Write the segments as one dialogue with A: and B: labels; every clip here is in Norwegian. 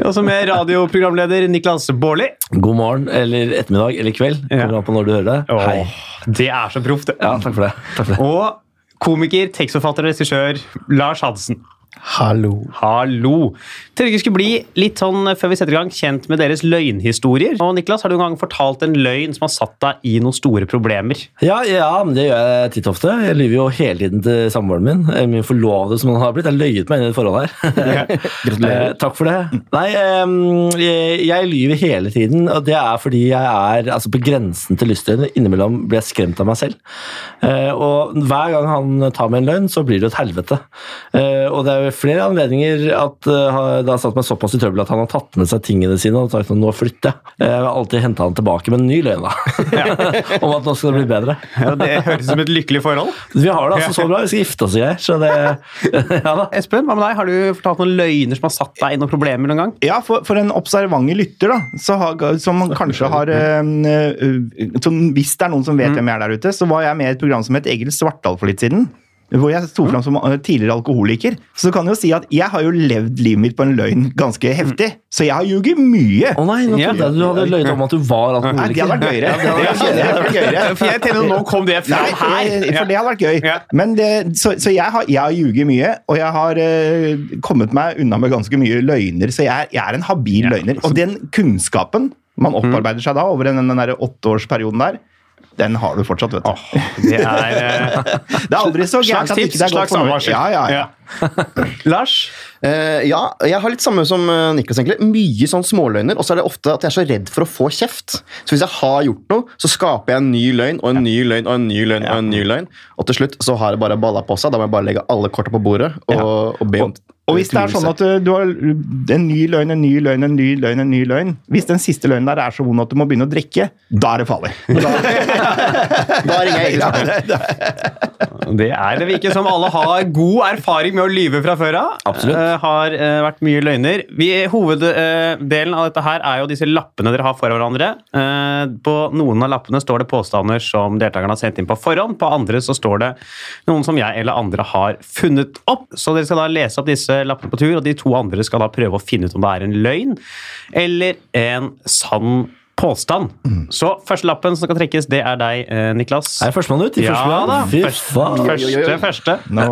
A: Og så med radioprogramleder Niklas Baarli.
B: God morgen, eller ettermiddag, eller kveld.
A: Ja.
B: Kommer an på når du hører det.
A: Åh,
B: Hei.
A: Det er så proft, det.
B: Ja, takk for det. Takk for det.
A: Og komiker, tekstforfatter og regissør Lars Hansen.
C: Hallo.
A: Hallo! Tenkte vi skulle bli litt sånn eh, før vi setter i gang, kjent med deres løgnhistorier. Og Niklas, har du noen gang fortalt en løgn som har satt deg i noen store problemer?
B: Ja, ja, men det gjør jeg titt og ofte. Jeg lyver jo hele tiden til samboeren min. eller Min forlovede som han har blitt. Jeg løyet meg inn i et forhold her. Eh, Takk for det. Nei, em, jeg, jeg lyver hele tiden, og det er fordi jeg er altså, på grensen til lysten. Innimellom blir jeg skremt av meg selv. Eh, og hver gang han tar meg en løgn, så blir det et helvete. Eh, og det er flere anledninger at eh, ha- det har satt meg såpass i trøbbel at han har tatt med seg tingene sine og sagt at nå flytter jeg. Eh, Jeg har alltid henta han tilbake med en ny løgn, da. Om at nå skal det bli bedre.
A: Ja, det høres ut som et lykkelig forhold.
B: Vi har det altså så bra. Vi skal gifte oss og greier. Så det Ja da.
A: Espen, hva med deg? Har du fortalt noen løgner som har satt deg i noen problemer noen gang?
D: Ja, for, for en observant lytter, da, så har, som kanskje har eh, eh, som, Hvis det er noen som vet hvem jeg er der ute, så var jeg med i et program som het Egil Svartdal for litt siden. Hvor jeg sto fram som eh, tidligere alkoholiker. Så kan jeg jo si at jeg har jo levd livet mitt på en løgn ganske heftig. Så jeg har ljuget mye.
B: Å nei, nå
A: Ja.
B: trodde jeg du hadde løyet om at du var
D: Nei, det hadde
B: alkoholiker.
D: vært gøyere. Det hadde vært gøyere.
A: For jeg tenker nå kom det
D: Nei,
A: fram her.
D: eh, for det hadde vært gøy.
A: Ja.
D: Men det, så, så jeg har, jeg har ljuget mye, og jeg har eh, kommet meg unna med ganske mye løgner, så jeg, er- jeg er en habil løgner. Og den kunnskapen man
A: Mm.
D: opparbeider seg da over den, den der åtteårsperioden der, den har du fortsatt, vet du.
A: Det er eh,
D: det er aldri så gærent
A: slags
D: at det
A: tips,
D: ikke er
A: slags
D: godt for noe.
A: advarsel.
D: Ja, ja, ja.
A: Ja. Lars?
C: Eh, ja, jeg har litt samme som eh, Niklas, egentlig. Mye sånn småløgner. Og så er det ofte at jeg er så redd for å få kjeft. Så hvis jeg har gjort noe, så skaper jeg en ny løgn og en ny løgn og en ny løgn. Og en ny løgn. Og til slutt så har det bare balla på seg. Da må jeg bare legge alle korta på bordet og, og be om
D: Og hvis det er sånn at eh, du har en ny løgn, en ny løgn, en ny løgn, en ny løgn Hvis den siste løgnen der er så vond at du må begynne å drikke, da er det farlig.
C: Da ringer jeg Egil.
A: Det er det virker som alle har god erfaring med å lyve fra før av.
B: Absolutt.
A: Eh, har eh, vært mye løgner. Vi, eh, hoveddelen av dette her er jo disse lappene dere har for hverandre. Eh, på noen av lappene står det påstander som deltakerne har sendt inn på forhånd. På andre så står det noen som jeg eller andre har funnet opp. Så dere skal da lese opp disse lappene på tur, og de to andre skal da prøve å finne ut om det er en løgn eller en sann påstand. Så første lappen som skal trekkes, det er deg, eh, Niklas.
B: Er jeg førstemann ut? I
A: Ja
B: første
A: da.
B: gang? Fy
A: Først-
B: faen.
A: Første, første.
D: Nå.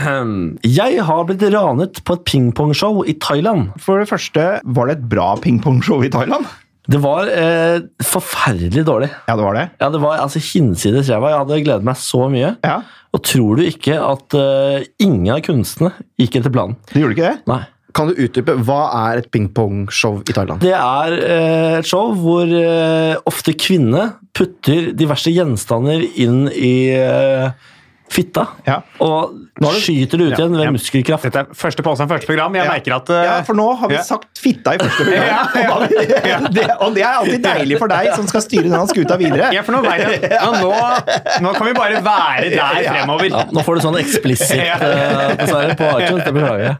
B: Jeg har blitt ranet på et pingpongshow i Thailand.
D: For det første, var det et bra pingpongshow i Thailand?
B: Det var eh, forferdelig dårlig.
D: Ja, det var det.
B: Ja, Det var altså hinsides ræva. Jeg hadde gledet meg så mye.
D: Ja,
B: Og tror du ikke at eh, ingen av kunstene gikk etter planen?
D: Det gjorde ikke det?
B: Nei.
C: Kan du utdype hva er et pingpongshow i Thailand?
B: Det er eh, et show hvor eh, ofte kvinne putter diverse gjenstander inn i eh, fitta.
D: Ja.
B: Og skyter det ut igjen ved muskelkraft.
A: Dette er første påstand, første program. Jeg
D: Ja.
A: merker at eh,
D: Ja, for nå har vi
A: ja.
D: sagt fitta i første program. Og, da, det, og det er alltid deilig for deg som skal styre denne skuta videre.
A: Ja, for nå vet jeg ja, nå, nå kan vi bare være der fremover.
B: Ja, nå får du sånn eksplisitt eh, dessverre på iTunes. Det beklager jeg.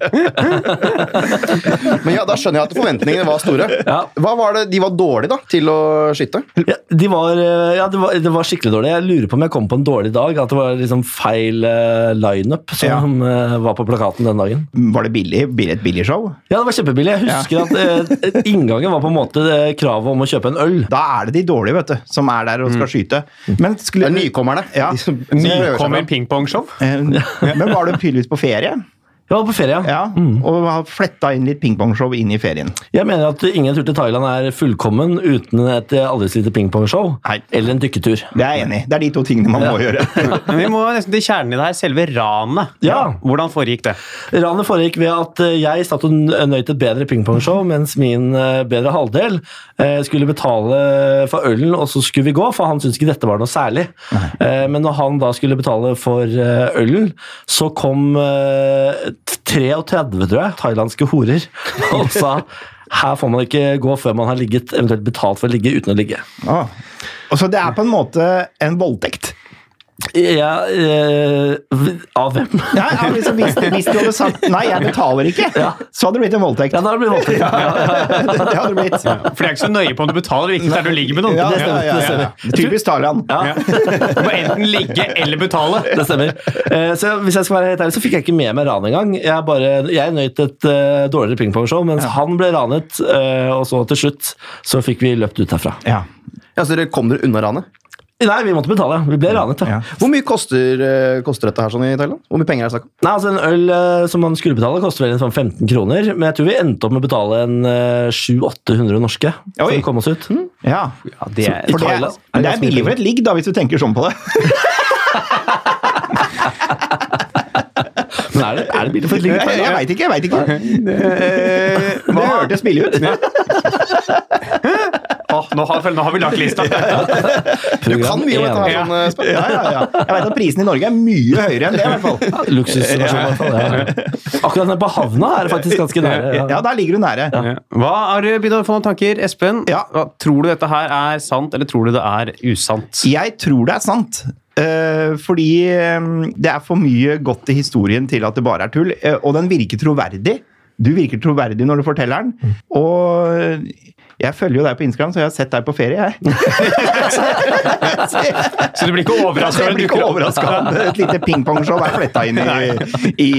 C: Men ja, Da skjønner jeg at forventningene var store.
B: Ja.
C: Hva var det de var dårlige da, til å skyte?
B: Ja, de var, eh, ja, det, var, det var skikkelig dårlig. Jeg lurer på om jeg kom på en dårlig dag. At det var liksom feil eh, lineup som eh, var på plakaten den dagen.
D: Var det billig, billig, et billig show?
B: Ja, det var kjempebillig. Jeg husker at eh, inngangen var på en måte eh, kravet om å kjøpe en øl.
D: Da er det de dårlige vet du, som er der og
A: Mm.
D: skal skyte. Men,
C: Det
D: skulle,
C: er nykommerne.
D: Ja.
C: De som- som prøver seg fram.
A: Nykommer pingpongshow.
D: eh, men var du tydeligvis på ferie?
B: Jeg var på ferie, ja.
D: Ja,
A: Mm.
D: Og har fletta inn litt pingpongshow inn i ferien.
B: Jeg mener at ingen tur til Thailand er fullkommen uten et eh, aldri så lite pingpongshow
D: Nei.
B: eller en dykketur.
D: Det er jeg enig i. Det er de to tingene man må gjøre.
A: Men vi må nesten til kjernen i det her. Selve ranet.
B: Ja.
A: Hvordan foregikk det?
B: Ranet foregikk ved at eh, jeg satt og n- nøyt et bedre pingpongshow, mens min eh, bedre halvdel eh, skulle betale for ølen, og så skulle vi gå, for han syntes ikke dette var noe særlig. Eh, Men når han da skulle betale for eh, ølen, så kom eh, t- 33, tror jeg, thailandske horer og sa her får man ikke gå før man har ligget, eventuelt betalt for å ligge uten å ligge.
D: Å. Og så det er på en måte en voldtekt.
B: Ja, eh, v- av hvem?
D: Ja, ja, men så hvis, hvis du hadde sagt 'nei, jeg betaler ikke',
B: Ja.
D: så hadde det blitt en voldtekt.
B: Ja, da blir det voldtekt.
D: det hadde det blitt.
A: For det er ikke så nøye på om du betaler eller ikke, der du ligger med noen.
D: Ja,
A: Ja.
D: ja, ja, ja. Typisk Thailand.
B: Ja.
A: Du må enten ligge eller betale.
B: Det stemmer. Eh, Så hvis jeg skal være helt ærlig, så fikk jeg ikke med meg ranet engang. Jeg, bare, jeg nøt et eh, dårligere pingpongshow, mens han ble ranet. eh, og så til slutt så fikk vi løpt ut herfra.
D: Ja.
C: Ja, så dere kom dere unna ranet?
B: Nei, vi måtte betale. Vi ble ranet, da.
D: Ja.
C: Hvor mye koster, eh, koster dette her sånn i Thailand? Hvor mye penger er det snakk om?
B: Nei, altså En øl eh, som man skulle betale, koster vel en sånn 15 kroner. Men jeg tror vi endte opp med å betale en eh, 700-800 norske for
D: Oi. Hm?
B: å komme oss ut.
D: ja.
A: det er-
B: I
D: For det,
B: Thailand.
D: er, men det er billig for et ligg, da, hvis du tenker sånn på det.
B: Men er det, er det billig for et ligge?
D: Jeg,
B: i
D: jeg
B: Thailand?
D: veit ikke. jeg vet ikke. Det hørtes billig ut.
A: Å, nå, har, nå har vi lagt lista.
C: Du kan mye om dette her.
A: Ja.
C: sånn, eh, Espen.
D: Ja, ja, ja. Jeg veit at prisene i Norge er mye høyere enn det, i hvert fall.
B: Luksusversjon, i hvert fall. Ja. Akkurat nede på havna er det faktisk ganske nære. ja.
D: Ja, der ligger du nære.
A: Ja. Hva har du begynt å få noen tanker, Espen?
D: Ja.
A: Hva, tror du dette her er sant, eller tror du det er usant?
D: Jeg tror det er sant. Eh, fordi eh, det er for mye godt i historien til at det bare er tull. eh, og den virker troverdig. Du virker troverdig når du forteller den. Og jeg følger jo deg på Instagram, så jeg har sett deg på ferie, jeg.
A: Så du blir ikke
D: Så
A: overraska?
D: jeg blir ikke overraska om et lite pingpongshow er fletta inn i, i,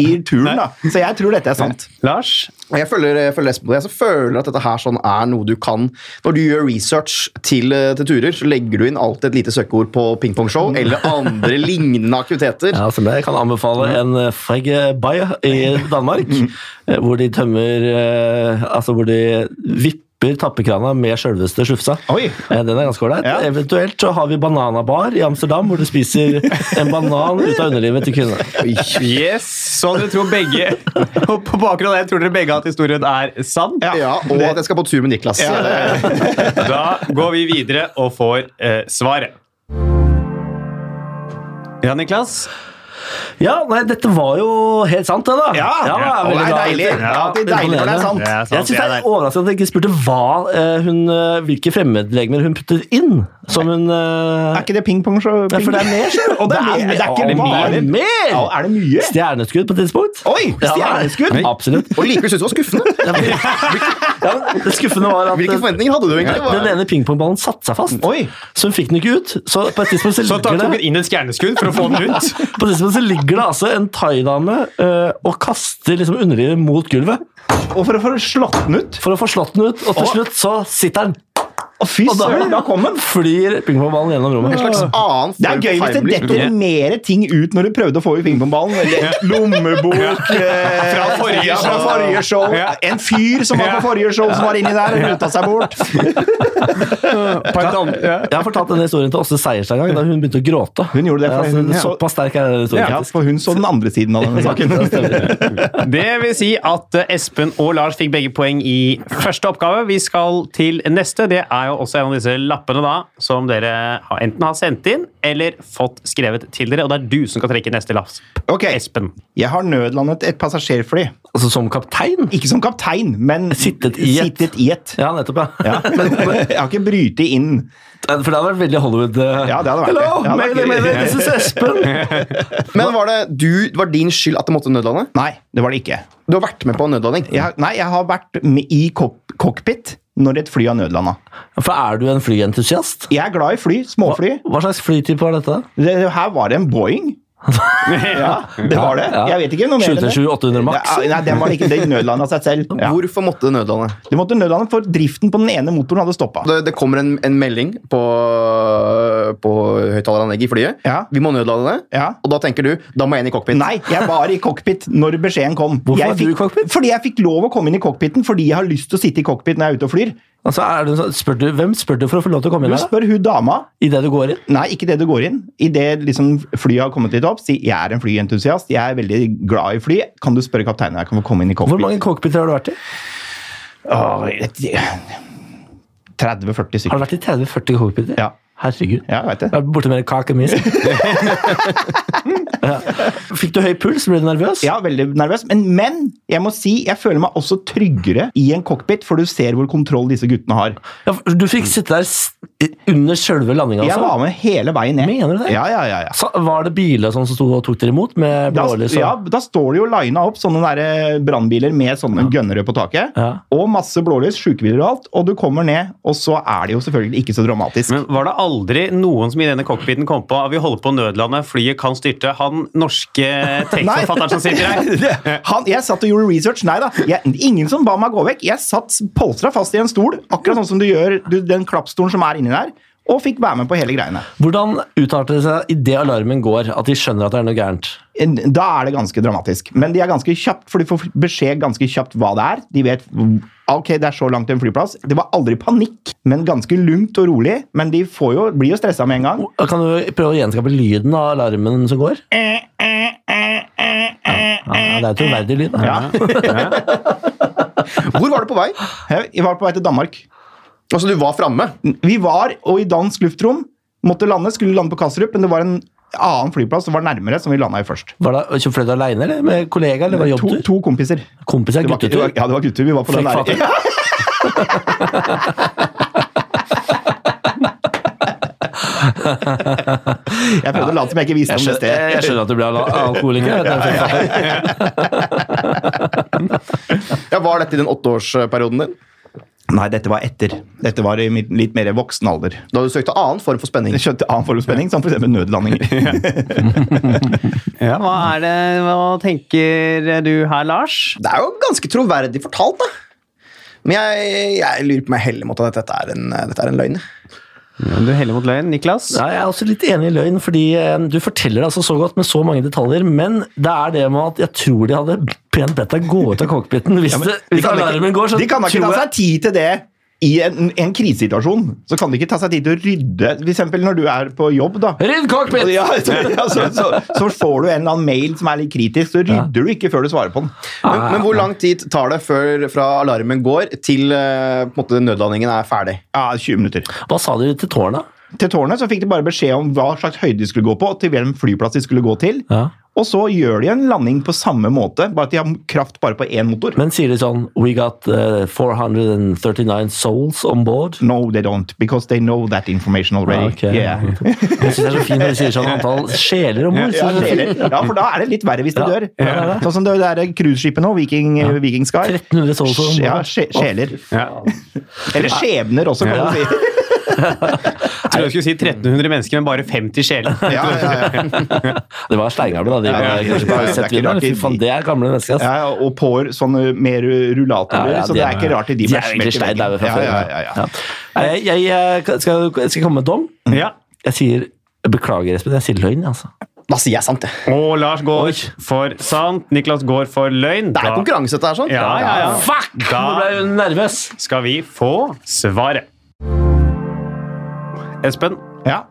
D: i turen, da. Så jeg tror dette er sant.
A: Lars?
C: Og Jeg følger, jeg følger Espen på det. Jeg så føler at dette her sånn er noe du kan Når du gjør research til, eh, til turer, så legger du inn alltid et lite søkeord på pingpongshow
D: Mm.
C: eller andre lignende aktiviteter.
B: Ja, stemmer. det. Jeg kan anbefale
D: Mm.
B: en eh, fregg eh, bay i Danmark, eh, hvor de tømmer eh, Altså hvor de vipper tappekrana med sjølveste slufsa.
D: Oi.
B: Eh, Den er ganske ålreit.
D: Ja.
B: Eventuelt så har vi bananabar i Amsterdam, hvor du spiser en banan ut av underlivet til kvinner.
A: Yes, så dere tror begge Og på bakgrunn av det tror dere begge at historien er sann?
C: Ja, Og at jeg skal på tur med Niklas. Eh,
A: Da går vi videre og får eh, svaret. Ja, Niklas?
B: Ja, nei, dette var jo helt sant, det, da.
D: Ja,
B: det er
D: og det
B: veldig
D: er
B: bra.
D: deilig. Det er alltid deilig når det er sant.
A: Ja,
B: Jeg synes det er overraskende at jeg ikke spurte hva eh, hun, eh, hvilke fremmedlegemer hun puttet inn. Som hun eh,
D: Er ikke det pingpongshow?
B: Ja, for det er mer, skjønner du.
D: Og det er, mer. det er ikke bare
B: mer.
D: Ja, er det mye?
B: Stjerneskudd på et tidspunkt.
D: Oi! Stjerneskudd?
B: Ja, absolutt.
C: Og likevel syns du det var skuffende.
B: Ja, men- ja, men det skuffende var at
C: Hvilke
B: den,
C: forventninger hadde du egentlig?
B: den ene pingpongballen satte seg fast,
D: Oi.
B: så hun fikk den ikke ut. Så på et tidspunkt så
A: Så tok
B: ligger
A: dere
B: det,
A: inn et stjerneskudd for å få den ut?
B: på et tidspunkt så ligger det altså en thaidame eh, og kaster liksom underlivet mot gulvet
D: Og for å få slått den ut?
B: for å få slått den ut, og til slutt så sitter den.
D: Å, fy
B: Og
D: søren, da kom den!
B: flyr pingpongballen gjennom
C: En slags
B: rommet.
C: annen
D: Det er gøy hvis det detter mer ting ut når du prøvde å få i pingpongballen. Eller Lommebok eh,
A: Fra forrige
D: ja, fra
A: show.
D: forrige show.
A: Ja.
D: En fyr som var på forrige show, som var inni der og rota seg bort.
B: Jeg har fortalt denne historien til Åse Seierstad en gang, da hun begynte å gråte.
D: Hun gjorde det, for
B: altså,
D: hun- ja.
B: Såpass sterk er den historien,
D: Ja,
B: faktisk.
D: for hun så den andre siden av denne saken.
A: Det vil si at eh, Espen og Lars fikk begge poeng i første oppgave. Vi skal til neste. Det er jo også en av disse lappene da, som dere har- enten har sendt inn eller fått skrevet til dere. Og det er du som skal trekke neste lapp.
D: Ok,
A: Espen.
D: Jeg har nødlandet et passasjerfly.
B: Altså som kaptein?
D: Ikke som kaptein, men
B: Sittet i et.
D: sittet i et.
B: Ja, nettopp, ja.
D: Ja. Jeg har ikke brytet inn.
B: For det hadde vært veldig Hollywood. eh,
D: Ja, det hadde vært det. Ja,
B: Hello,
D: det hadde
B: mayday,
D: vært-
B: mayday, this is Espen!
C: Men var det du, var din skyld at det måtte nødlande?
D: Nei, det var det ikke.
C: Du har vært med på en nødlanding.
D: Jeg, har- nei, jeg har vært med i kok- cockpit når et fly har nødlanda.
B: For er du en flyentusiast?
D: Jeg er glad i fly. Småfly.
B: Hva slags flytype var dette?
D: Det, her var det en Boeing.
A: ja.
D: Det var det.
B: Ja.
D: Jeg vet ikke noe mer
B: 727-800 maks.
D: Det- Nei, den var det ikke. Det nødlandet seg selv. Ja.
C: Hvorfor måtte det nødlande?
D: Det måtte nødlande, for driften på den ene motoren hadde stoppa.
C: Det, det kommer en, en melding på, på høyttaleranlegget i flyet.
D: Ja.
C: Vi må nødlande det.
D: Ja.
C: Og da tenker du da må jeg inn i cockpit.
D: Nei, jeg var i cockpit når beskjeden kom.
B: Hvorfor
D: jeg
B: var du
D: fikk,
B: i cockpit?
D: Fordi jeg fikk lov å komme inn i cockpiten fordi jeg har lyst til å sitte i cockpit når jeg er ute og flyr.
B: Altså, er det, en sånn- spør du, hvem spør du for å få lov til å
D: Du
B: komme inn her? da?
D: spør hun dama.
B: I det du går inn?
D: Nei, ikke det du går inn. Idet liksom flyet har kommet litt opp, si jeg er en flyentusiast, jeg er veldig glad i fly. Kan du spørre kapteinen om jeg kan få komme inn i
B: Hvor
D: cockpit?
B: mange cockpiter har du vært i?
D: Åh, et- 30-40
B: Har
D: stykker.
B: du vært i 30-40 cockpiter?
D: Ja.
B: Herregud.
D: Ja, jeg vet
B: Jeg
D: det.
B: er borte med en kake mis. ja. Fikk du høy puls? Ble du nervøs?
D: Ja, veldig nervøs. Men, men jeg må si, jeg føler meg også tryggere i en cockpit, for du ser hvor kontroll disse guttene har.
B: Ja, for Du fikk sitte der s- under altså? sjølve landinga?
D: Jeg var med hele veien ned.
B: Mener du det?
D: Ja, ja, ja, ja.
B: Så var det biler og sånn som sto og tok dere imot? med
D: Da,
B: blålys? og-
D: ja, da står det jo lina opp sånne der eh, brannbiler med sånne gønnere på taket.
B: Ja.
D: Og masse blålys, sjukebiler og alt. Og du kommer ned, og så er det jo selvfølgelig ikke så dramatisk.
A: Men var det aldri noen som i denne cockpiten kom på at vi holder på å nødlande, flyet kan styrte, han norske tekstforfatteren som sitter her?
D: Han, jeg satt og gjorde research. Nei da. Jeg, ingen som ba meg gå vekk. Jeg satt polstra fast i en stol, akkurat sånn som du gjør du, den klappstolen som er inni der, og fikk være med på hele greiene.
B: Hvordan uttalte det seg idet alarmen går, at de skjønner at det er noe gærent?
D: Da er det ganske dramatisk. Men de er ganske kjapt, for de får beskjed ganske kjapt hva det er. De vet ok, det er så langt til en flyplass. Det var aldri panikk, men ganske lunt og rolig. Men de får jo, blir jo stressa med en gang.
B: Og Kan du prøve å gjenskape lyden av alarmen som går? Ja,
D: Eh,
B: ja, det er troverdig lyd. da.
D: Ja.
C: Hvor var du på vei?
D: Jeg var på vei til Danmark.
C: Altså, du var framme.
D: Vi var og i dansk luftrom. Måtte lande, skulle lande på Kastrup, men det var en annen flyplass som var nærmere, som vi landa i først.
B: Var det, ikke Fløy du aleine, eller med kollega, eller var det
D: To,
B: jobbtur?
D: to kompiser.
B: Kompis er
D: Det var, ikke- det
B: guttetur.
D: var, ja, det var gutter. Vi var på den
B: Flekk
D: der. Jeg prøvde å late som jeg ikke visste
B: Jeg
D: om det
B: skjønner,
D: stedet.
B: jeg skjønner at du ble al- alkoholiker. det er fint.
C: Ja, Var dette i den åtteårsperioden din?
D: Nei, dette var etter. Dette var i mitt- litt mer voksen alder.
C: Da du søkte annen form for spenning?
D: Jeg skjønte annen form for spenning, som f.eks. nødlandinger.
A: Ja, hva, er det, hva tenker du her, Lars?
C: Det er jo ganske troverdig fortalt, da. Men jeg, jeg lurer på meg heller mot at dette er en, dette er en løgn.
A: Du heller mot løgn, Niklas.
B: Ja, jeg er også litt enig i løgn, fordi eh, du forteller det altså så godt med så mange detaljer, men det er det med at jeg tror de hadde pent bedt deg gå ut av cockpiten hvis, det-
D: De
B: hvis
D: kan da
B: alarmen går.
D: ikke,
B: Så
D: de kan da ikke
B: tror
D: ta
B: jeg-
D: seg tid til det i en, en krisesituasjon. Så kan de ikke ta seg tid til å rydde. For eksempel når du er på jobb, da.
B: Rydd cockpit!
D: Ja, så, ja, så, så, så får du en eller annen mail som er litt kritisk, så rydder du ikke før du svarer på den.
C: Men,
A: Ah.
C: men hvor lang tid tar det før fra alarmen går til eh, på en måte, nødlandingen er ferdig?
D: Ja, 20 minutter.
B: Hva sa de til tårnet?
D: Til tårnet så fikk de bare beskjed om hva slags høyde de skulle gå på, og til hvilken flyplass de skulle gå til.
B: Ja.
D: Og så gjør de en landing på samme måte, bare at de har kraft bare på én motor.
B: Men sier de sånn We got eh, 439 souls on board.
D: No, they don't, because they know that information already.
B: Ja, Ah, ok.
D: Yeah.
B: Jeg synes det er så fint når de sier sånn antall sjeler om bord.
D: Ja, det er det. ja, for da er det litt verre hvis de dør. Sånn som det der cruiseskipet nå, Viking, Viking Sky.
B: 1300 souls on
D: Ja,
B: board.
D: sje- sjeler. Eller skjebner også, kan du si.
A: Jeg trodde jeg skulle si 1300 mennesker, men bare 50 sjeler.
D: Ja, ja, ja.
B: Det var steingamle, da. De,
D: Ja, ja, ja, ja,
B: kanskje bare
D: det er
B: sett
D: ikke
B: videre.
D: rart de-
B: Fy faen, det er gamle mennesker. ass.
D: Ja, ja, og pår sånn mer rullatorer,
B: Ja, ja,
D: så det er ikke rart at de
B: De
D: ble
B: er
D: smelt
B: egentlig
D: i veggen.
B: steindaue fra
D: Ja,
B: før.
D: ja, ja, ja.
B: Nei, Jeg, jeg, jeg skal, jeg skal komme med dom.
A: Ja.
B: Jeg sier beklager, Espen. Jeg sier løgn, altså.
C: Da sier jeg sant, jeg.
A: Og Lars går
B: Oi.
A: for sant, Niklas går for løgn.
C: Det er
A: Da-
C: konkurranse, dette her. sånn.
A: Ja, ja, ja.
B: Fuck!
A: Da-
B: Nå ble jeg nervøs.
A: skal vi få svaret. Espen,
D: Ja.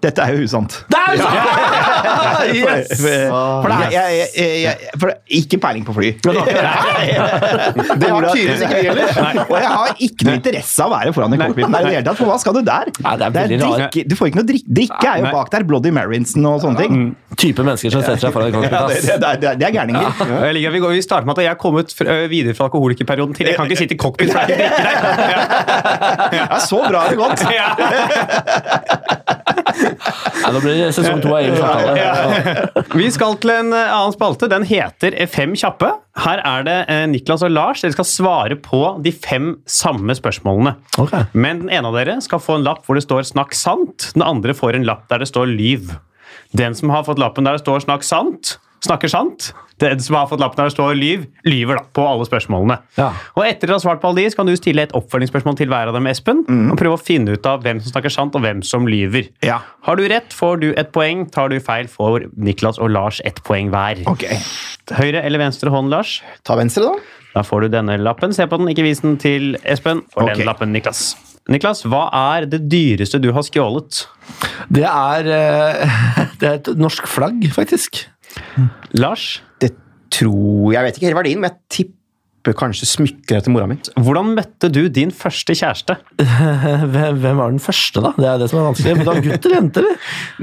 D: Dette er jo usant.
B: Det sånn! er sant!
D: For, for, det er- jeg, jeg, jeg, for Ah, det er ikke peiling på fly.
C: Det har tydeligvis ikke vi heller.
D: Og jeg har ikke noe interesse av å være foran i cockpiten. her i det hele tatt, For hva skal du der?
B: Nei, det er veldig rart.
D: drikke, du får ikke noe drikke. Drikke er jo
A: Nei.
D: bak der. Bloody Marinson og sånne ting.
B: Type mennesker som setter seg foran
D: Ja,
B: en
D: det,
B: cockpit.
D: det, det, er- det er gærninger.
A: jeg liker at vi, går, vi starter med at jeg er kommet fra, ø, videre fra alkoholikerperioden til jeg kan ikke sitte i cockpit. for jeg kan ikke drikke der.
D: Ja, så bra er det gått!
A: Ja.
B: Nei, Nå blir det sesong to av Egen samtale.
A: Vi skal til en ø, annen spalte. Den heter Fem kjappe. Her er det ø, Niklas og Lars. Dere skal svare på de fem samme spørsmålene.
B: Ok.
A: Men den ene av dere skal få en lapp hvor det står 'snakk sant'. Den andre får en lapp der det står 'lyv'. Den som har fått lappen der det står 'snakk sant', snakker sant. Den som har fått lappen der det står 'lyv', lyver da på alle spørsmålene.
B: Ja.
A: Og etter dere har svart på alle de, så kan du stille et oppfølgingsspørsmål til hver av dem, Espen, og prøve å finne ut av hvem som snakker sant, og hvem som lyver.
D: Ja.
A: Har du rett, får du et poeng. Tar du feil, får Niklas og Lars ett poeng hver.
D: Ok.
A: Høyre eller venstre hånd, Lars?
C: Ta venstre, da.
A: Da får du denne lappen. Se på den, ikke vis den til Espen. Får
D: Ok.
A: den lappen, Niklas. Niklas, hva er det dyreste du har skjålet?
B: Det er, eh, det er et norsk flagg, faktisk.
A: Lars,
C: Det tror Jeg vet ikke hele verdien, men jeg tipper kanskje smykker etter mora mi.
A: hvordan møtte du din første kjæreste?
B: Eh, Hvem hvem var den første, da? Det er det som er vanskelig. Men da gutt eller jente, eller?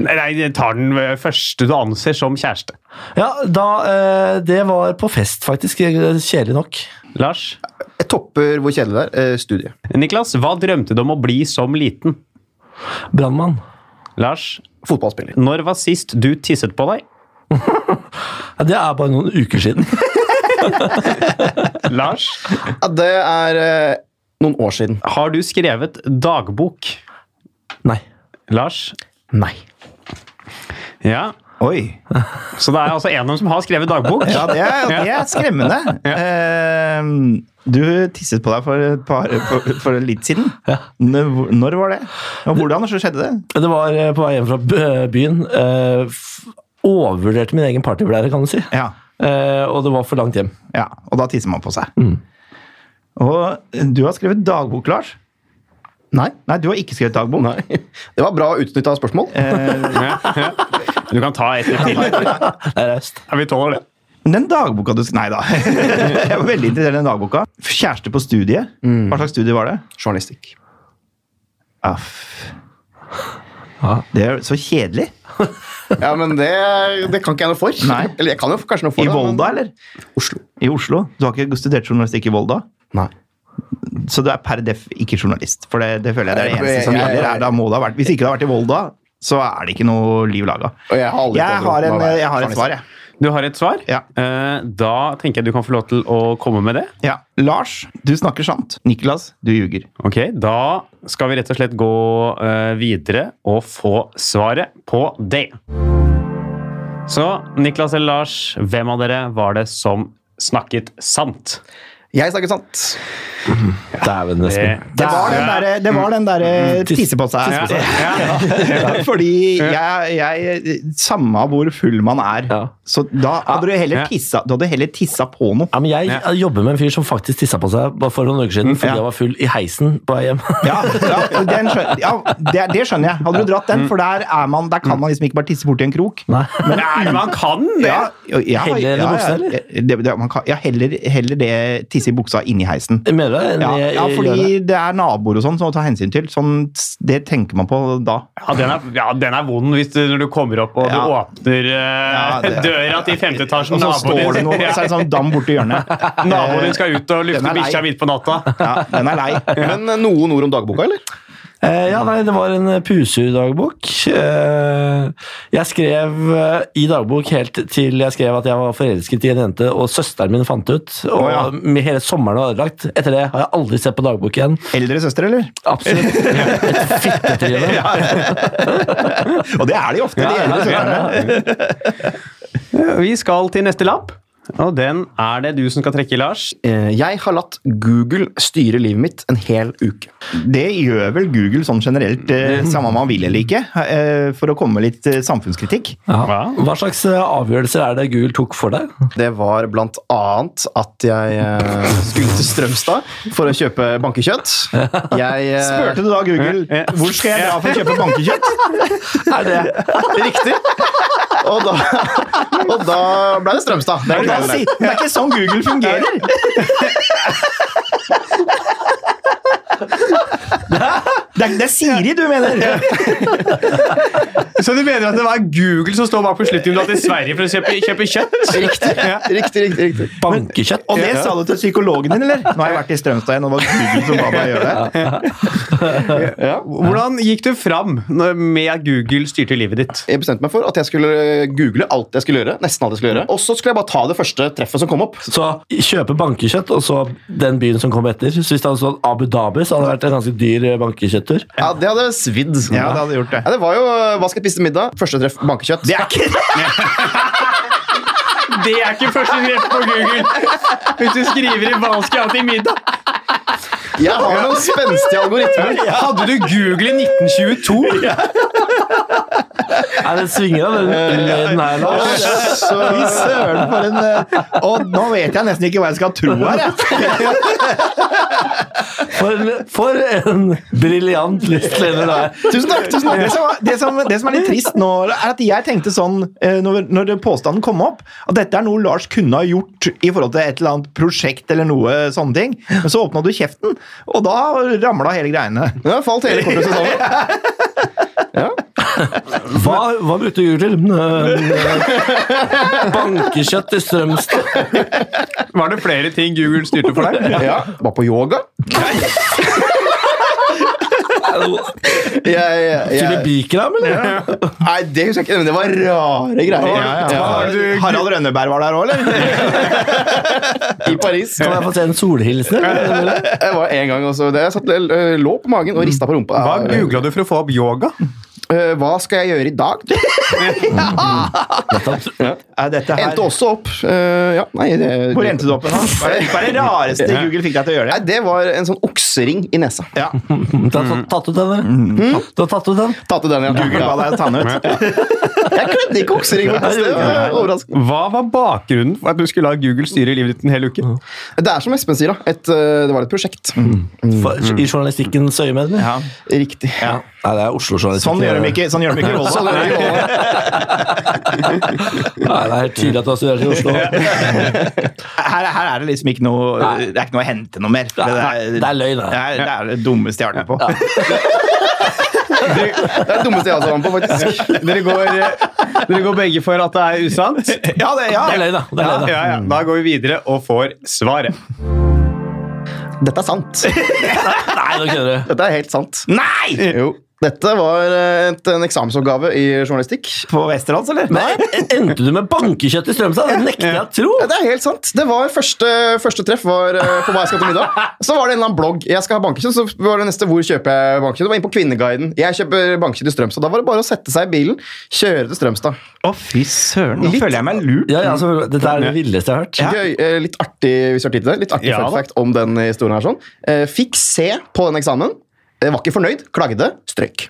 A: Nei, jeg tar den eh, første du anser som kjæreste.
B: Ja, da, eh, det var på fest, faktisk. Kjedelig nok.
A: Lars?
C: Jeg topper hvor kjedelig det er. Eh, studie.
A: Niklas, hva drømte du om å bli som liten?
B: Brannmann.
A: Lars,
C: Fotballspiller.
A: når var sist du tisset på deg?
B: Ja, det er bare noen uker siden.
A: Lars,
C: Ja, det er eh, noen år siden.
A: har du skrevet dagbok?
B: Nei.
A: Lars?
C: Nei.
A: Ja,
D: Oi.
A: så det er altså en av dem som har skrevet dagbok.
D: Ja, det er, det er skremmende. Ehm, du tisset på deg for, et par, for, for litt siden. Når, når var det? Og hvordan og så skjedde det?
B: Det var eh, på vei hjem fra b- byen. eh, f- Overvurderte min egen partyblære, kan du si.
D: Ja.
B: Eh, Og det var for langt hjem.
D: ja. Og da tisser man på seg. Og du har skrevet dagbok, Lars.
C: Nei.
D: Nei, du har ikke skrevet dagbok.
C: Nei. Det var bra utnytta spørsmål.
D: Eh,
A: Ja, ja. Du kan ta et til.
B: Det er raust.
A: Ja, vi tåler det.
D: men den dagboka du sk- Nei da. Jeg var veldig interessert i den dagboka. Kjæreste på studiet. Hva slags studie var det?
C: Journalistikk.
D: Aff. Det er så kjedelig.
C: Ja, men det, det kan ikke jeg noe for.
D: Nei.
C: Eller jeg kan jo kanskje noe for
D: I
C: det, men-
D: Volda, eller?
C: Oslo.
D: I Oslo. Du har ikke studert journalistikk i Volda?
C: Nei.
D: Så du er per def ikke journalist. For det, det føler jeg det er det eneste som
C: Jeg- jeg-
D: gjelder. Er, da må det ha vært. Hvis ikke det har vært i Volda, så er det ikke noe liv laga.
C: Og jeg har, aldri
D: Jeg
C: fått
D: har,
C: råd
D: en,
C: om å være
D: jeg har et
C: journalist.
D: svar, jeg.
A: Du har et svar?
D: Ja.
A: Eh, Da tenker jeg du kan få lov til å komme med det.
D: Ja. Lars, du snakker sant. Niklas, du ljuger.
A: Ok, Da skal vi rett og slett gå eh, videre og få svaret på det. Så Niklas eller Lars, hvem av dere var det som snakket sant?
C: Jeg snakker sant.
B: Dæven, Espen. Mm,
A: Det-
D: Det var den derre det var den eh, derre
B: Tis-
D: tisse på seg.
A: Mm. Ja, ja.
D: Fordi jeg, jeg eh, Samme hvor full man er.
B: Ja.
D: Så da hadde du
A: Ja.
D: heller tissa, du hadde heller tissa på noe.
B: Ja, men jeg
A: Ja.
B: jobber med en fyr som faktisk tissa på seg bare for noen uker siden fordi
D: Mm, Ja.
B: jeg var full i heisen på vei hjem.
D: Ja, ja, den skjønner, ja det, det skjønner jeg. Hadde du dratt den, for der, er man, der kan man liksom ikke bare tisse bort i en krok.
B: Mm. Nei.
A: Nei, man kan det!
D: Ja, ja, ja,
B: Heller enn i
D: ja,
B: buksa,
D: ja,
B: eller?
D: Det, det, man kan, ja, heller, heller det tisse i buksa inni heisen.
B: Mener du det?
D: Ja,
B: Jeg-
D: ja,
B: jeg gjør det.
D: fordi det er naboer og sånn som må ta hensyn til. Sånn, det tenker man på da.
A: Ja, den er, ja, den er vond hvis du, når du kommer opp og du
D: Ja.
A: åpner eh,
D: Ja, det-
A: døra til femte etasjen.
D: Og så står det
A: Naboen
D: noe,
A: din,
D: så er det sånn dam borti hjørnet.
A: naboen din skal ut og
D: Den
A: lufte
D: er lei.
A: bikkja midt på natta.
D: Ja, den er lei.
C: Men eh, noen ord om dagboka, eller?
B: Eh, ja, nei, det var en eh, pusedagbok. Eh, jeg skrev eh, i dagbok helt til jeg skrev at jeg var forelsket i en jente, og søsteren min fant ut. Og
D: Å, ja.
B: med hele sommeren var ødelagt. Etter det har jeg aldri sett på dagbok igjen.
D: Eldre søster, eller?
B: Absolutt. Et fittetryne.
D: Og det er de ofte, de eldre søstrene.
A: Vi skal til neste lapp, og den er det du som skal trekke, Lars.
C: Eh, Jeg har latt Google styre livet mitt en hel uke.
D: Det gjør vel Google sånn generelt, eh,
B: Mm.
D: samme om man vil eller ikke, eh, for å komme med litt eh, samfunnskritikk.
B: Ja. Hva slags eh, avgjørelser er det Google tok for deg?
C: Det var blant annet at jeg eh, skulle til Strømstad for å kjøpe bankekjøtt. Jeg eh,
D: Spurte du da Google hvor skal jeg dra for å kjøpe bankekjøtt?
B: Er det
C: Riktig! Og da, og da ble det Strømstad. Det er
D: Det
C: klart
D: er
C: det.
D: si- det er ikke sånn Google fungerer! Det er, det er Siri du mener!
A: Så du mener at det var Google som står bak beslutningen du drar til Sverige for å kjøpe, kjøpe kjøtt?
C: Riktig, riktig, riktig, riktig.
B: bankekjøtt?
D: Og det sa du til psykologen din, eller? Nå har jeg vært i Strømstad igjen, og det var Google som ba meg gjøre det.
A: Hvordan gikk du fram når- med at Google styrte livet ditt?
C: Jeg bestemte meg for at jeg skulle eh, google alt jeg skulle gjøre. nesten alt jeg skulle gjøre,
D: Mm.
C: Og så skulle jeg bare ta det første treffet som kom opp.
B: Så kjøpe bankekjøtt, og så den byen som kom etter. Så hvis det hadde stått Abu Dhabi, så hadde det vært en ganske dyr eh, tur.
C: Ja, det hadde svidd.
D: Ja, det hadde gjort det.
C: Ja, det var jo eh, Hva skal jeg spise til middag? Første treff bankekjøtt.
D: Det er ikke
A: Det er ikke første treff på Google! Hvis du skriver i 'hva skal jeg ha til middag'?
C: Jeg har noen spenstige algoritmer.
A: Hadde du Google i 1922?
B: Er det svinger av den
D: Eh,
B: lyden her, Lars?
C: Så,
D: Fy søren, for en eh, Og nå vet jeg nesten ikke hva jeg skal tro her, jeg.
B: For, for en briljant listleder du er.
C: tusen takk! tusen
D: Det
C: takk.
D: som, det, som, det som er litt trist nå, er at jeg tenkte sånn eh, når, når det- påstanden kom opp, at dette er noe Lars kunne ha gjort i forhold til et eller annet prosjekt eller noe sånne ting. Men så åpna du kjeften, og da ramla hele greiene.
C: Ja, falt hele kortet sammen.
B: Hva, hva brukte du til? Eh, Bankekjøtt i Strømstad.
A: Var det flere ting Google styrte for deg?
C: Ja, Var på yoga. Jeg, jeg,
B: Skulle
C: jeg,
B: Bikram, eller?
C: nei, det husker jeg ikke, men det var rare greier.
D: Ja, Harald Rønneberg var der òg, eller?
C: I Paris.
B: Kan jeg få se en solhilsen? eller?
C: Jeg var en gang også, det jeg satt, eh, lå på magen og rista på rumpa.
A: Hva googla du for å få opp yoga?
C: Eh, Hva skal jeg gjøre i dag?
D: Er dette her
C: Endte også opp eh, ja, nei, det,
D: Hvor endte du opp med nå? Hva er det- hva er det rareste Google fikk deg til å gjøre?
C: Nei, det var en sånn oksering i nesa.
D: Ja,
B: Du har tatt- tatt ut den, eller? Hm? Du har tatt ut den?
C: Ta til den, ja.
D: Google ba
C: ja.
D: deg å ta den ut.
C: Jeg kledde ikke oksering, faktisk. Det var overraskende.
A: Hva var bakgrunnen for at du skulle la Google styre livet ditt en hel uke?
C: Det er som Espen sier, da. Et, eh, det var et prosjekt.
D: Mm.
B: For, I journalistikkens øyemed? eller?
D: Ja.
C: Riktig.
B: Ja. Nei, det er Oslo-journalistikk.
D: Sånn gjør de ikke sånn gjør de ikke i Volda.
C: Sånn er det jo.
B: Nei, det er helt tydelig at du har studert i Oslo.
D: her, her er det liksom ikke noe Det er ikke noe å hente noe mer. Det,
B: det er løgn, det.
D: Det er, det er det dummeste jeg har vært med på.
C: Det er det dummeste jeg har vært med på, faktisk.
A: Dere går, dere går begge for at det er usant?
D: Ja, det, ja.
B: Det er løgn, da. Det er løgn, da.
A: Ja, ja. Da går vi videre og får svaret.
C: Dette er sant.
B: Nei, nå kødder du.
C: Dette er helt sant.
D: Nei!
C: Jo. Dette var eh, et, en eksamensoppgave i journalistikk.
D: På Westerdals, eller?
B: Men endte du med bankekjøtt i Strømstad? Det nekter jeg å tro!
C: Ja, Det er helt sant. Det var første, første treff var eh, på hva jeg skal til middag. Så var det en eller annen blogg. Jeg skal ha bankekjøtt, så var det neste hvor kjøper jeg bankekjøtt. Det var inn på Kvinneguiden. Jeg kjøper bankekjøtt i Strømstad. Da var det bare å sette seg i bilen, kjøre til Strømstad.
D: Å, fy søren. Nå
C: Litt-
D: føler jeg meg lurt.
B: Ja, ja, selvfølgelig. Dette er det villeste jeg har hørt.
C: Gøy, eh, litt artig hvis du har tid til det. Litt artig
A: Ja,
C: fun
A: da.
C: fact om den historien her. sånn. Eh, Fikk C på den eksamen. Eh, Var ikke fornøyd, klagde, strøk.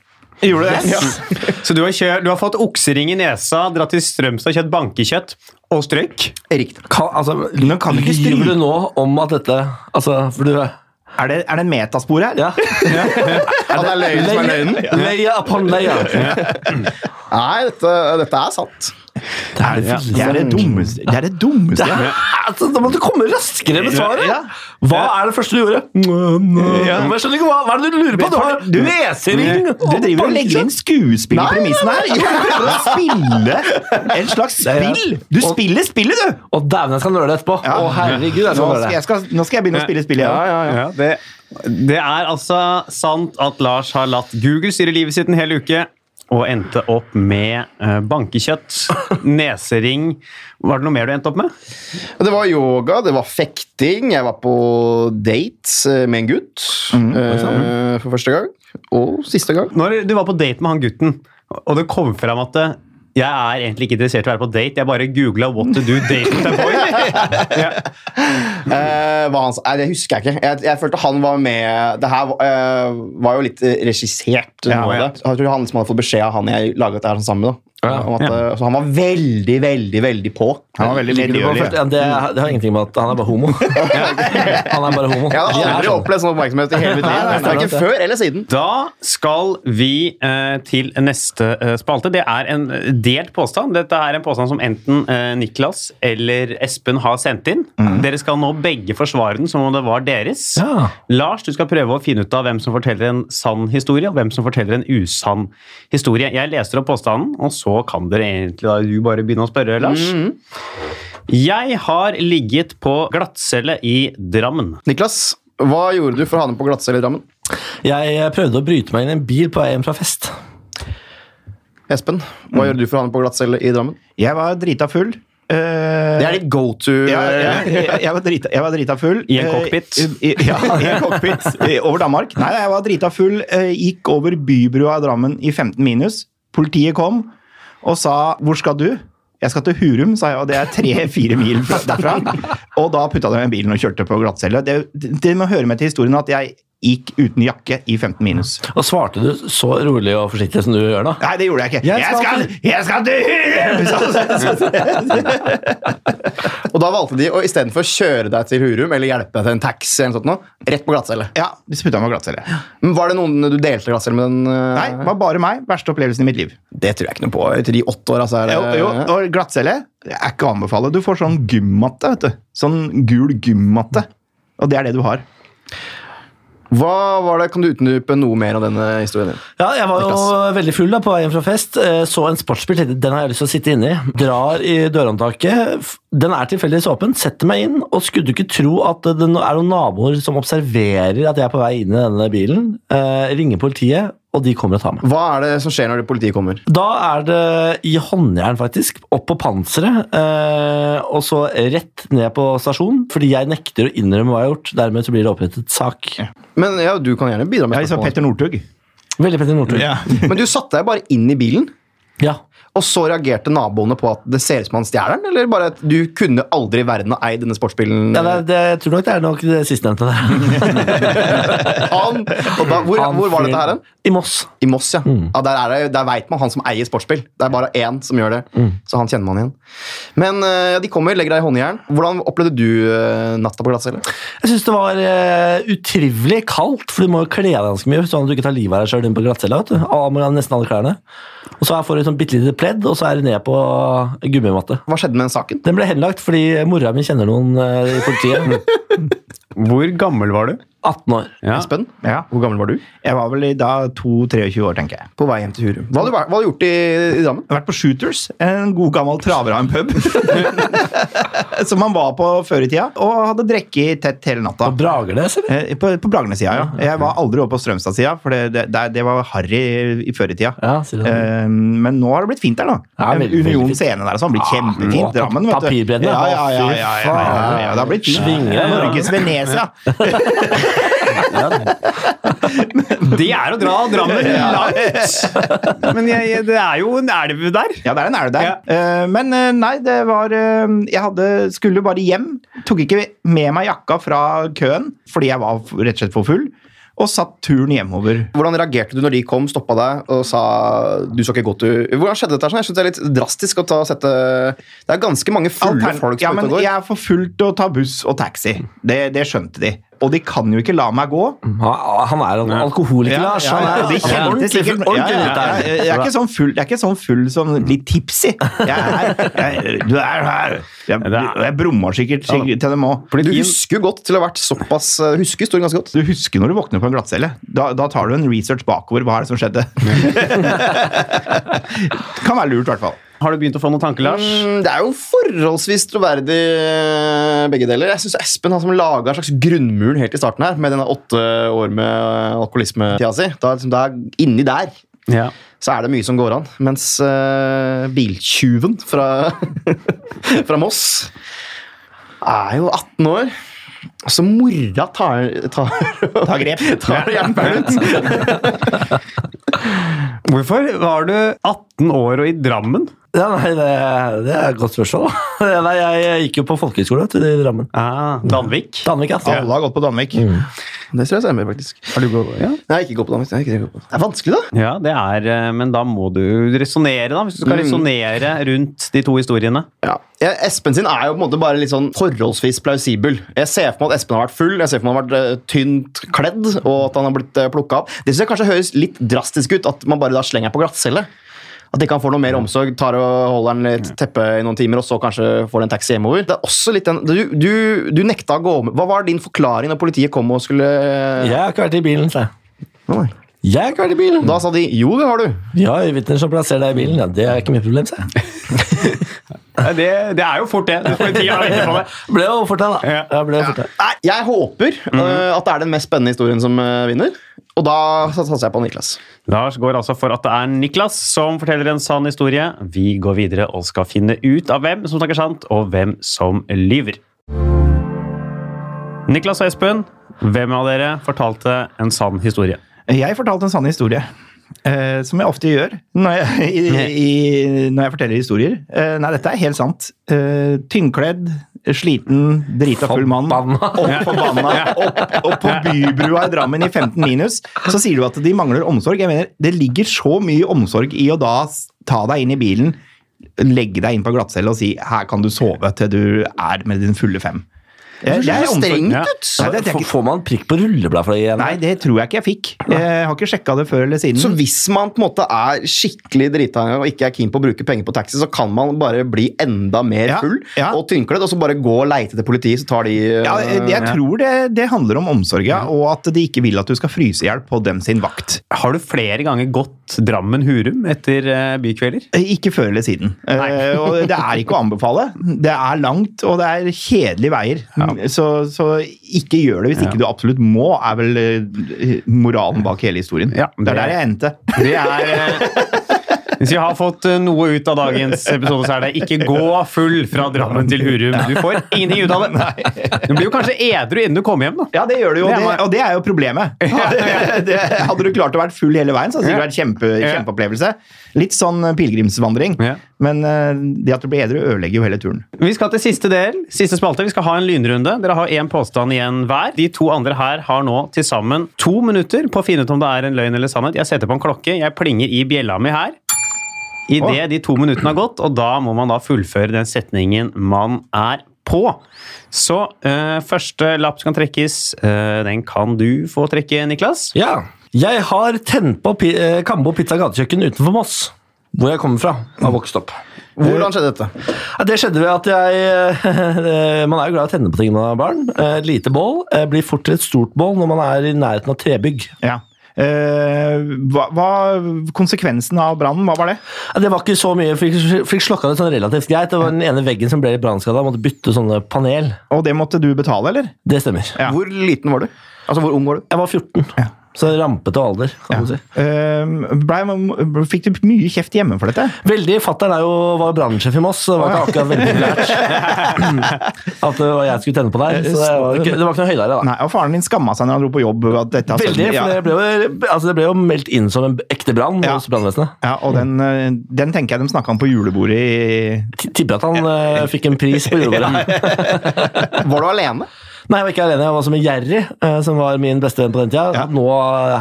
D: Gjorde du det?
A: Så du har, kjørt, du har fått oksering i nesa, dratt til Strømstad, kjøpt bankekjøtt og strøk?
C: Riktig.
B: Kan, altså,
D: Nå kan du ikke stryke.
B: Lyver du nå om at dette Altså, for du
D: Er det, er det metaspor her?
B: Ja.
C: Ja, det er løgnen som er løgnen.
B: Leia upon leia. Det
C: Nei, dette, dette er sant.
B: er det
D: Det er det
B: villeste.
D: dummeste Det er det dummeste jeg har hørt.
B: Altså, da må du komme raskere med
D: Ja.
B: svaret! Hva er det første du gjorde?
D: Ja.
B: Men Jeg skjønner ikke hva, hva er det du lurer på? Du har lesering
D: Du driver og legger inn skuespill i
C: Nei,
D: premissen her. Du prøver å spille en slags
B: Ja, ja.
D: spill. Du spiller spillet, du!
B: Å, dæven, jeg skal nøle etterpå! Å, herregud, jeg
D: Nå
B: skal
D: skal
B: nøle.
D: jeg, skal, nå skal jeg begynne å spille spillet, jeg òg.
A: Ja, det, det er altså sant at Lars har latt Google styre livet sitt en hel uke. Og endte opp med eh, bankekjøtt, nesering Var det noe mer du endte opp med?
C: Det var yoga, det var fekting, jeg var på dates eh, med en gutt eh, for første gang. Og siste gang.
A: Når du var på date med han gutten, og det kom fram at eh, jeg er egentlig ikke interessert i å være på date, jeg bare googla 'what to do date with a boy'. Ja.
C: Eh, hva han sa, nei, det husker jeg ikke. Jeg, jeg følte han var med Det her eh, var jo litt eh, regissert.
A: Ja,
C: noe av
A: ja.
C: det. Jeg tror han som hadde fått beskjed av han jeg laget det her sånn sammen med. da.
B: Ja,
C: Om at, eh, Så han var veldig, veldig, veldig på.
D: Han var veldig
B: Det, var
D: medgjørlig.
B: først, ja, det, det har ingenting med at han er bare homo. Han er bare homo.
C: Jeg hadde
B: De er
C: aldri
B: sånn.
C: opplevd sånn oppmerksomhet i hele mitt liv.
B: Nei, nei,
C: Verken
B: nei.
C: før eller siden.
A: Da skal vi eh, til neste eh, spalte. Det er en eh, delt påstand. Dette er en påstand som enten eh, Niklas eller Espen har sendt inn. Dere skal nå begge forsvare den som om det var deres.
B: Ja.
A: Lars, du skal prøve å finne ut av hvem som forteller en sann historie, og hvem som forteller en usann historie. Jeg leser opp påstanden, og så kan dere egentlig da du bare begynne å spørre, Lars. Jeg har ligget på glattcelle i Drammen.
C: Niklas, hva gjorde du for å ha den på glattcelle i Drammen?
B: Jeg eh, prøvde å bryte meg inn i en bil på vei hjem fra fest.
C: Mm. Espen, hva gjorde du for å ha den på glattcelle i Drammen?
D: Jeg var drita full. Eh,
C: Det er eh, ditt go to
D: ja, jeg, Eh, jeg, jeg, var drita, jeg var drita full.
A: I en
D: Eh,
A: cockpit?
D: i- i- Ja, i en cockpit eh, over Danmark. Nei, jeg var drita full. eh, Gikk over bybrua i Drammen i 15 minus. Politiet kom og sa 'Hvor skal du?' Jeg skal til Hurum, sa jeg, og det er tre-fire mil fra- derfra. Og da putta de meg i bilen og kjørte på glattcelle. Det, det, det må høre med til historien at jeg gikk uten jakke i 15 minus.
B: Og svarte du så rolig og forsiktig som du gjør nå?
D: Nei, det gjorde jeg ikke.
B: Jeg
D: Jeg
B: skal
D: skal, jeg skal til Hurum! sa-
C: Og da valgte de å istedenfor kjøre deg til Hurum eller hjelpe deg til en taxi, eller noe sånt, nå, rett på glattcelle.
D: Ja, de putta meg i glattcelle.
C: Men Var det noen du delte glattcelle med? den? eh,
D: Nei, det var bare meg. Verste opplevelsen i mitt liv.
C: Det tror jeg ikke noe på. Etter de åtte åra, så er det
D: Jo, jo, og glattcelle det er ikke å anbefale. Du får sånn gymmatte, vet du. Sånn gul gymmatte. Og det er det du har.
C: Hva var det? Kan du utdype noe mer av denne historien din?
B: Ja, jeg var jo
C: Niklas.
B: veldig full da, på vei hjem fra fest. eh, Så en sportsbil, tenkte den har jeg lyst til å sitte inne i. Drar i dørhåndtaket. f- Den er tilfeldigvis åpen. Setter meg inn, og skulle du ikke tro at det nå- er noen naboer som observerer at jeg er på vei inn i denne bilen. eh, Ringer politiet, og de kommer og tar meg.
C: Hva er det som skjer når politiet kommer?
B: Da er det i håndjern, faktisk. Opp på panseret, eh, og så rett ned på stasjonen. Fordi jeg nekter å innrømme hva jeg har gjort. Dermed så blir det opprettet sak.
C: Men ja, Du kan gjerne bidra
D: Jeg
C: med
D: er liksom
C: spørsmål.
D: Petter Northug.
B: Veldig Petter Northug.
C: Men du satte deg bare inn i bilen,
B: Ja.
C: og så reagerte naboene på at det ser ut som han stjeler den? Eller bare at du kunne aldri i verden ha eid denne sportsbilen?
B: Ja, det, er- det, jeg tror nok det er nok det sistnevnte der.
C: han, og da, hvor,
B: Han
C: hvor var dette
B: fyren
C: her hen?
B: I Moss.
C: I Moss, ja. ja der, er det, der vet man han som eier sportsbil. Det er bare én som gjør det. Så han kjenner man igjen. Men eh, ja, de kommer, legger deg i håndjern. Hvordan opplevde du eh, natta på glattcelle?
B: Jeg syns det var eh, utrivelig kaldt, for du må jo kle deg ganske mye. sånn at du ikke tar livet av deg sjøl inne på glattcella. vet du. Alle må ha nesten alle klærne. Og så her får du et sånn bitte lite pledd, og så er det ned på gummimatte.
C: Hva skjedde med den saken?
B: Den ble henlagt fordi mora mi kjenner noen eh, i politiet.
A: Hvor gammel var du?
B: 18 år.
A: Ja.
C: Espen,
D: Ja.
C: hvor gammel var du?
D: Jeg var vel i da 22-23 år, tenker jeg.
C: På vei hjem til Hurum. Hva hadde du, vært- hva hadde du gjort i, i Drammen?
D: Jeg har vært på Shooters, en god gammel traver av en pub. som man var på før i tida, og hadde drukket tett hele natta.
B: Og Bragernes, eller?
D: Eh, På, på Bragernes-sida, ja. Jeg var aldri over på Strømstad-sida, for det, det, der- det var harry i før i tida.
B: Ja, sier du.
D: Eh, men nå har det blitt fint der, da.
B: Ja, veldig, veldig
D: Union
B: fint.
D: scene der og sånn blir
B: mm.
D: kjempefint. Drammen, vet du.
B: Papirbredden,
D: Ja,
B: ja.
D: ja, ja, ja, ja, ja, ja, ja, Det har blitt fint.
B: Svinger,
D: Det er
B: ja.
D: Norges Venezia.
A: Det er å dra Drammen langt! Men jeg, jeg- det er jo en elv der.
D: Ja, det er en elv der. Eh, Men eh, nei, det var eh, Jeg hadde, skulle bare hjem. Tok ikke med meg jakka fra køen fordi jeg var f- rett og slett for full. Og satt turen hjemover.
C: Hvordan reagerte du når de kom, stoppa deg og sa du skal ikke gå til Hvordan skjedde dette? her, sånn? Jeg synes Det er litt drastisk å ta og sette Det er ganske mange fulle
D: Altern-
C: folk som
D: ja,
C: er
D: men
C: ute og går.
D: jeg er for full til å ta buss og taxi. Det, det skjønte de. Og de kan jo ikke la meg gå.
B: Han han er en alkoholiker, Mm. Lars.
D: Ja, ja,
B: Han
D: de
B: er
D: kjente sikkert-
B: ordentlig
D: ja, ja, ja,
B: ordentlig
D: jeg, jeg er ikke sånn full, jeg er ikke sånn full som litt tipsy. Jeg er, jeg, du er her. Jeg, jeg brummer sikkert, sikkert til dem òg.
C: Du husker jo godt til å ha vært såpass Du husker historien ganske godt.
D: Du husker når du våkner på en glattcelle. Da, da tar du en research bakover. Hva er det som skjedde? kan være lurt, i hvert fall.
A: Har du begynt å få noen tanker, Lars?
C: Mm, Det er jo forholdsvis troverdig, eh, begge deler. Jeg syns Espen han som laga en slags grunnmuren helt i starten her, med denne åtte år med eh, alkoholisme-tida si. Da, liksom, da, inni der
A: Ja.
C: så er det mye som går an. Mens eh, biltjuven fra, fra Moss er jo 18 år. Så mora tar, tar,
D: Ta grep.
C: tar jernbæren ut.
A: Hvorfor var du 18 år og i Drammen?
B: Ja, nei, det, det er et godt spørsmål. da. Nei, jeg, jeg gikk jo på folkehøyskole vet du, i Drammen.
A: Ah, Danvik.
B: Danvik, ass.
D: Alle har gått på Danvik.
C: Mm. Det tror jeg stemmer, faktisk.
A: Har du gått ja?
C: Nei, ikke gå på Danmark. Nei, ikke gå på. Det er vanskelig, da.
A: ja, det er eh, Men da må du resonnere, da. Hvis du skal
C: Mm.
A: resonnere rundt de to historiene.
C: Ja. Ja, Espen sin er jo på en måte bare litt sånn forholdsvis plausibel. Jeg ser for meg at Espen har vært full, jeg ser for meg at han har vært eh, tynt kledd, og at han har blitt uh, plukka opp. Det synes jeg kanskje høres litt drastisk ut, at man bare da slenger på glattcelle. At ikke han får noe mer omsorg, tar og holder han litt teppe i noen timer, og så kanskje får en taxi hjemover. Det er også litt den, du, du, du nekta å gå om. Hva var din forklaring når politiet kom og skulle
B: Jeg har ikke vært i bilen, sa jeg.
C: Nei.
B: Jeg har ikke vært i bilen!
C: Da sa de 'jo, det har du'.
B: Vi har øyevitner som plasserer deg i bilen. Ja, det er ikke mitt problem, sa jeg.
A: Ja, Det, det er jo fort, det. det. får vi ti av å vente på det.
B: Ble jo fort deg, da.
A: Ja.
B: Ja, ble jo fort deg.
C: eh, Nei, jeg håper øh, at det er den mest spennende historien som øh, vinner. Og da satser jeg på Niklas.
A: Lars går altså for at det er Niklas som forteller en sann historie. Vi går videre og skal finne ut av hvem som snakker sant, og hvem som lyver. Niklas og Espen, hvem av dere fortalte en sann historie?
D: Jeg fortalte en sann historie. eh, som jeg ofte gjør når jeg, i, i, når jeg forteller historier. Eh, nei, dette er helt sant. Eh, tynnkledd, sliten, drita full mann.
B: Forbanna.
D: Opp forbanna. Opp, opp på bybrua i Drammen i 15 minus. Så sier du at de mangler omsorg. Jeg mener, Det ligger så mye omsorg i å da s- ta deg inn i bilen, legge deg inn på glattcelle og si 'her kan du sove til du er med din fulle fem'. Eh,
C: Det er
D: omsorg.
C: strengt
A: ja.
C: ut!
D: Nei, det, det er
B: F-
D: ikke
B: Får man prikk på rullebladet for det igjen?
D: Nei, det tror jeg ikke jeg fikk. Jeg har ikke sjekka det før eller siden.
C: Så hvis man på en måte er skikkelig drita og ikke er keen på å bruke penger på taxi, så kan man bare bli enda mer
D: Ja,
C: full
D: ja.
C: og tynnkledd, og så bare gå og leite til politiet, så tar de øh,
D: ja, eh, jeg jeg tror det, det handler om omsorg, ja, og at de ikke vil at du skal fryse i hjel på dem sin vakt.
A: Har du flere ganger gått Drammen-Hurum etter eh, bykvelder?
D: Eh, Ikke før eller siden. Eh, og det er ikke å anbefale. Det er langt, og det er kjedelige veier. Så, så ikke gjør det hvis ikke du absolutt må, er vel eh, moralen bak hele historien.
A: Ja,
D: det er der jeg endte.
A: Det er eh, Hvis vi har fått eh, noe ut av dagens episode, så er det ikke gå full fra Drammen til Hurum. Du får ingenting ut av det. Du blir jo kanskje edru innen du kommer hjem, da.
D: Ja, det gjør du jo,
A: Det
D: og
A: er
D: det,
A: meg.
D: og det er jo problemet. Det, det, hadde du klart å være full hele veien, så hadde det sikkert vært kjempe,
A: Ja.
D: kjempeopplevelse. Litt sånn pilegrimsvandring.
A: Ja.
D: Men eh, det at du blir edru, ødelegger jo hele turen.
A: Vi skal til siste del, siste spalte. Vi skal ha en lynrunde. Dere har én påstand igjen hver. De to andre her har nå til sammen to minutter på å finne ut om det er en løgn eller sannhet. Jeg setter på en klokke, jeg plinger i bjella mi her. Idet de to minuttene har gått, og da må man da fullføre den setningen man er på. Så eh, første lapp som kan trekkes, eh, den kan du få trekke, Niklas.
B: Ja. Jeg har tent på pi eh, Kambo Pizza gatekjøkken utenfor Moss, hvor jeg kommer fra. Har vokst opp.
C: Hvordan skjedde dette?
B: Ja, Det skjedde ved at jeg eh, Man er jo glad i å tenne på ting når man er barn. Eh, lite bål eh, blir fort til et stort bål når man er i nærheten av trebygg.
D: Ja. Eh, hva, hva Konsekvensen av brannen, hva var det?
B: Ja, Det var ikke så mye. Fikk, fikk slokka det sånn relativt greit. Det var den ene veggen som ble litt brannskada. Måtte bytte sånne panel.
D: Og det måtte du betale, eller?
B: Det stemmer.
D: Ja.
C: Hvor liten var du? Altså, hvor ung var du?
B: Jeg var 14, så rampete alder, kan man si.
D: Eh, ble, fikk du mye kjeft hjemme for dette?
B: Veldig, Fattern var jo brannsjef i Moss, så det var ikke akkurat veldig populært at det var jeg skulle tenne på der. Så det var ikke, det var ikke noe høydere, da.
D: Nei, Og faren din skamma seg når han dro på jobb. At dette har
B: Veldig,
D: skjedd.
B: for det
D: ja.
B: ble, jo, altså det ble jo meldt inn som en ekte brann
D: Ja.
B: hos brannvesenet.
D: ja, Og den, eh, den tenker jeg de snakka om på julebordet i
B: T- Tipper at han eh, fikk en pris på julebordet.
C: Var du alene?
B: Nei, jeg var ikke alene. Jeg var som en Jerry, eh, som var min beste venn på den tida.
D: Ja.
B: Nå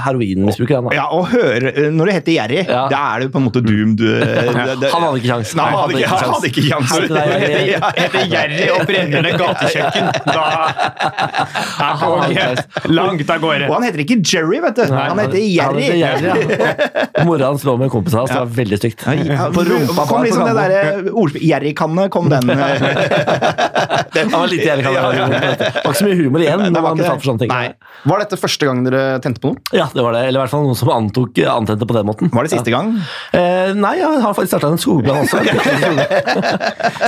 B: heroinmisbruker, han da.
D: Ja, og høre, Når du heter Jerry,
B: Ja.
D: da er du på en måte doomed. eh,
B: Han hadde ikke kjangs.
D: Nei, han hadde ikke, han hadde ikke sjans.
B: Hei til deg, Jerry.
A: Heter Jerry og brenner ned gatekjøkken. Da er toget langt av gårde.
D: Og han heter ikke Jerry, vet du. Han heter
B: Han
D: Jerry.
B: heter Jerry, ja. Mora hans lå med en kompis av oss, det var veldig stygt.
D: Ja,
B: På rumpa
D: kom
B: bak på
D: liksom det
B: gangen.
D: derre ordspillet Jerrykanne, kom den. eh,
B: Det var litt jævlig kaldt. Det var ikke så mye humor igjen. når
D: var
B: man
D: ikke
B: betalte for sånne ting.
D: Nei.
C: Var dette første gang dere tente på noe?
B: Ja, det var det. Eller i hvert fall noen som antok, antente på den måten.
D: Var det siste gang?
B: Eh, nei, jeg har faktisk starta en skogbrann også.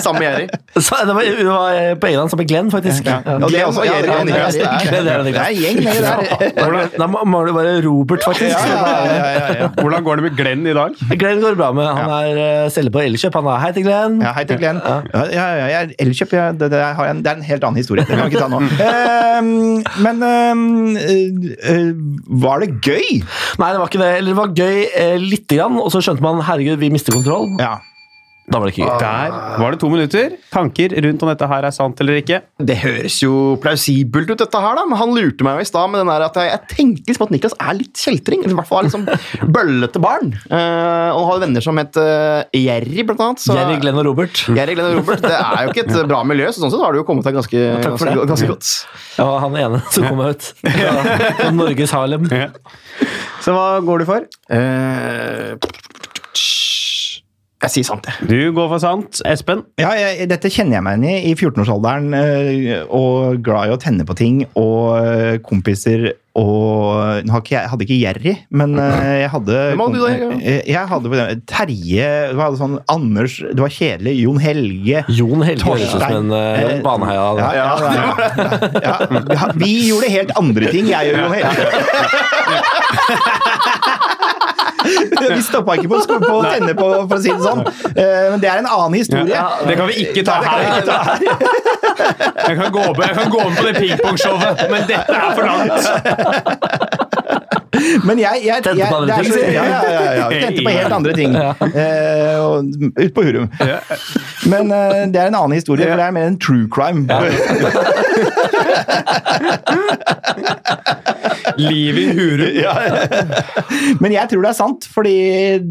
C: Sammen med Jerry?
B: Så det var, det var eh, på egen hånd som med Glenn, faktisk. Ja.
C: Og det er også
D: Ja,
C: Jerry og
D: det er-
C: Niklas. Det er-
B: Glenn er det,
D: Det er en gjeng, det der.
B: Niklas. Da må- må det være Robert, faktisk.
A: Hvordan går det med Glenn i dag?
B: Glenn går det bra med. Han er eh, selger på Elkjøp. Han er Hei til Glenn.
D: Ja, hei til Glenn. Ja, ja, ja, jeg- Elkjøp ja, det, det, har jeg en, det er en helt annen historie. Det kan vi ikke ta nå. Ehm, men ehm, eh, eh, var det gøy?
B: Nei, det var ikke det. Eller det var gøy eh, lite grann, og så skjønte man herregud, vi mister kontroll.
D: Ja.
B: Da var det ikke
D: Ah.
B: gøy.
A: Der var det to minutter. Tanker rundt om dette her er sant eller ikke.
C: Det høres jo plausibelt ut, dette her, da. Men han lurte meg jo i stad med den der at jeg, jeg tenkte liksom at Niklas er litt kjeltring. Eller i hvert fall liksom bøllete barn. Eh, og har venner som het eh, Jerry, blant annet. Så,
B: Jerry, Glenn og Robert.
C: Jerry, Glenn og Robert. Det er jo ikke et bra miljø, så sånn sett har du jo kommet deg ganske,
B: takk for
C: ganske,
B: det.
C: ganske godt.
B: Ja, han ene som kom meg ut. Ja. Norges Harlem.
A: Så hva går du for?
C: Eh, jeg sier sant, jeg.
A: Du går for sant. Espen?
D: Ja, jeg, dette kjenner jeg meg igjen i. I 14-årsalderen eh, og glad i å tenne på ting og eh, kompiser og nå har ikke jeg, jeg hadde ikke Jerry, men eh, jeg hadde
C: Hvem hadde du da, Jerry?
D: Eh, Jeg hadde for eksempel Terje, det var sånn Anders, det var kjedelig, Jon Helge
B: Jon Helge høres ut
D: Torstein.
B: som en eh,
D: Eh,
B: baneheia.
D: ja, ja, ja, ja. Vi gjorde helt andre ting, jeg og Jon Helge. Vi stoppa ikke på, sko- på å tenne på, for å si det sånn. Eh, Men det er en annen historie.
A: Ja, det kan vi ikke ta her.
D: Nei, det kan vi ikke ta her.
A: Jeg kan gå med, jeg kan gå med på det pingpongshowet, men dette er for langt!
D: Men jeg, jeg, jeg,
B: Tente på andre
D: det er
B: ting.
D: så- Ja, ja, ja, ja. vi Tente på helt andre ting. Eh, og ut på Hurum. Men eh, det er en annen historie, for det er mer en true crime.
A: Livet i Hurum.
D: Men jeg tror det er sant, fordi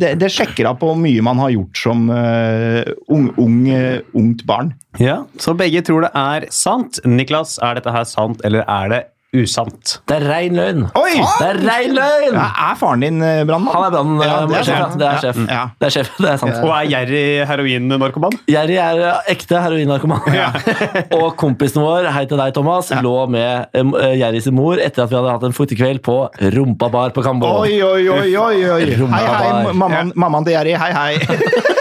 D: det, det sjekker av på hvor mye man har gjort som eh, ung, ung, eh, ungt barn.
A: Ja, så begge tror det er sant. Niklas, er dette her sant, eller er det usant?
B: Det er rein løgn!
D: Oi!
B: Det er rein løgn!
D: Ja, er faren din eh, brannmann?
B: Han er brannmann. eh,
D: Ja, det er
B: sjef, ja.
D: sant.
B: Det er sjef.
D: Ja.
B: Det er sjef, det er sant.
A: Og er gjerrig heroin-narkoman?
B: Jerry er eh, ekte heroinnarkoman. og kompisen vår, hei til deg, Thomas, lå med em, eh, Jerry sin mor etter at vi hadde hatt en fuktekveld på Rumpa bar på Kambo.
D: Oi, oi, oi, oi, oi. Hei, hei,
B: Rumpebar.
D: mammaen, mammaen til Jerry. Hei, hei.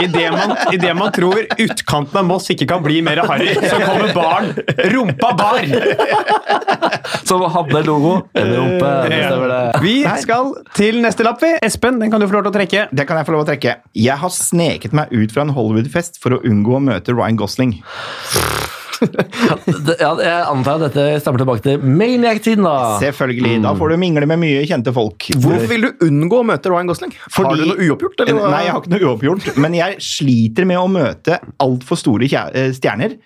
A: I det man, i det man tror utkanten av Moss ikke kan bli mer harry, så kommer barn. Rumpa bar!
B: Som hadde logo. En rumpe. Det stemmer det.
A: Eh, Vi skal til neste lapp, vi. Espen, den kan du få lov til å trekke.
D: Det kan jeg få lov å trekke. Jeg har sneket meg ut fra en Hollywood-fest for å unngå å møte Ryan Gosling.
B: Det- Ja, jeg antar at dette stammer tilbake til Maniac-tiden, da.
D: Selvfølgelig. Da får du mingle med mye kjente folk.
C: Hvorfor vil du unngå å møte Ryan Gosling?
D: Fordi-
C: har du noe uoppgjort? Eller? hva?
D: Nei, jeg har ikke noe uoppgjort, men jeg sliter med å møte altfor store kjæ- eh, stjerner.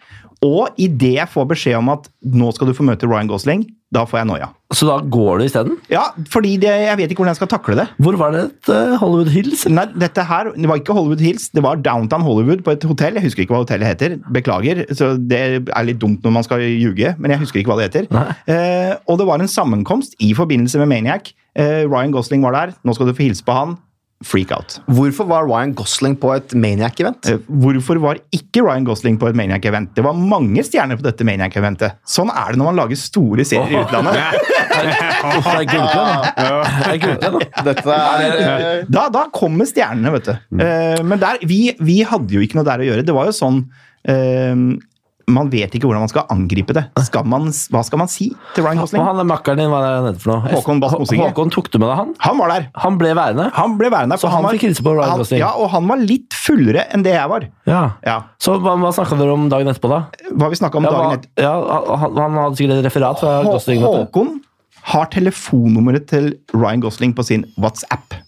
D: Og idet jeg får beskjed om at nå skal du få møte Ryan Gosling, da får jeg noia.
B: Så da går du isteden?
D: Ja, fordi det, jeg vet ikke hvordan jeg skal takle det.
B: Hvor var det et eh, Hollywood Hills?
D: Nei, dette her, Det var ikke Hollywood Hills, det var Downtown Hollywood på et hotell. Jeg husker ikke hva hotellet heter. Beklager. så Det er litt dumt når man skal ljuge, men jeg husker ikke hva det heter. Eh, og det var en sammenkomst i forbindelse med Maniac. Eh, Ryan Gosling var der. Nå skal du få hilse på han. Freak out.
C: Hvorfor var Ryan Gosling på et Maniac-event?
D: Eh, Hvorfor var ikke Ryan Gosling på et Maniac-event? Det var mange stjerner på dette Maniac-eventet. Sånn er det når man lager store serier i utlandet.
B: Det er gullplan, da. Det er gullplan, da.
C: Dette er
D: Da, da kommer stjernene, vet du.
B: Mm.
D: Eh, men der, vi, vi hadde jo ikke noe der å gjøre. Det var jo sånn eh, Man vet ikke hvordan man skal angripe det. Skal man, s- hva skal man si til Ryan
B: Og
D: Gosling?
B: han er makkeren din, hva er det han heter for noe?
D: Håkon Bass Mosinge.
B: Håkon tok du med deg han?
D: Han var der!
B: Han ble værende.
D: Han ble værende der. for
B: Så han
D: var-
B: fikk hilse på Ryan
D: han-
B: Gosling.
D: Ja, og han var litt fullere enn det jeg var.
B: Ja.
D: Ja,
B: Så hva, hva snakka dere om dagen etterpå, da?
D: Hva vi snakka om
B: Ja, hva,
D: dagen etter.
B: ja, han, han hadde sikkert et referat fra
D: Hå-
B: Gosling. vet du.
D: Håkon har telefonnummeret til Ryan Gosling på sin WhatsApp.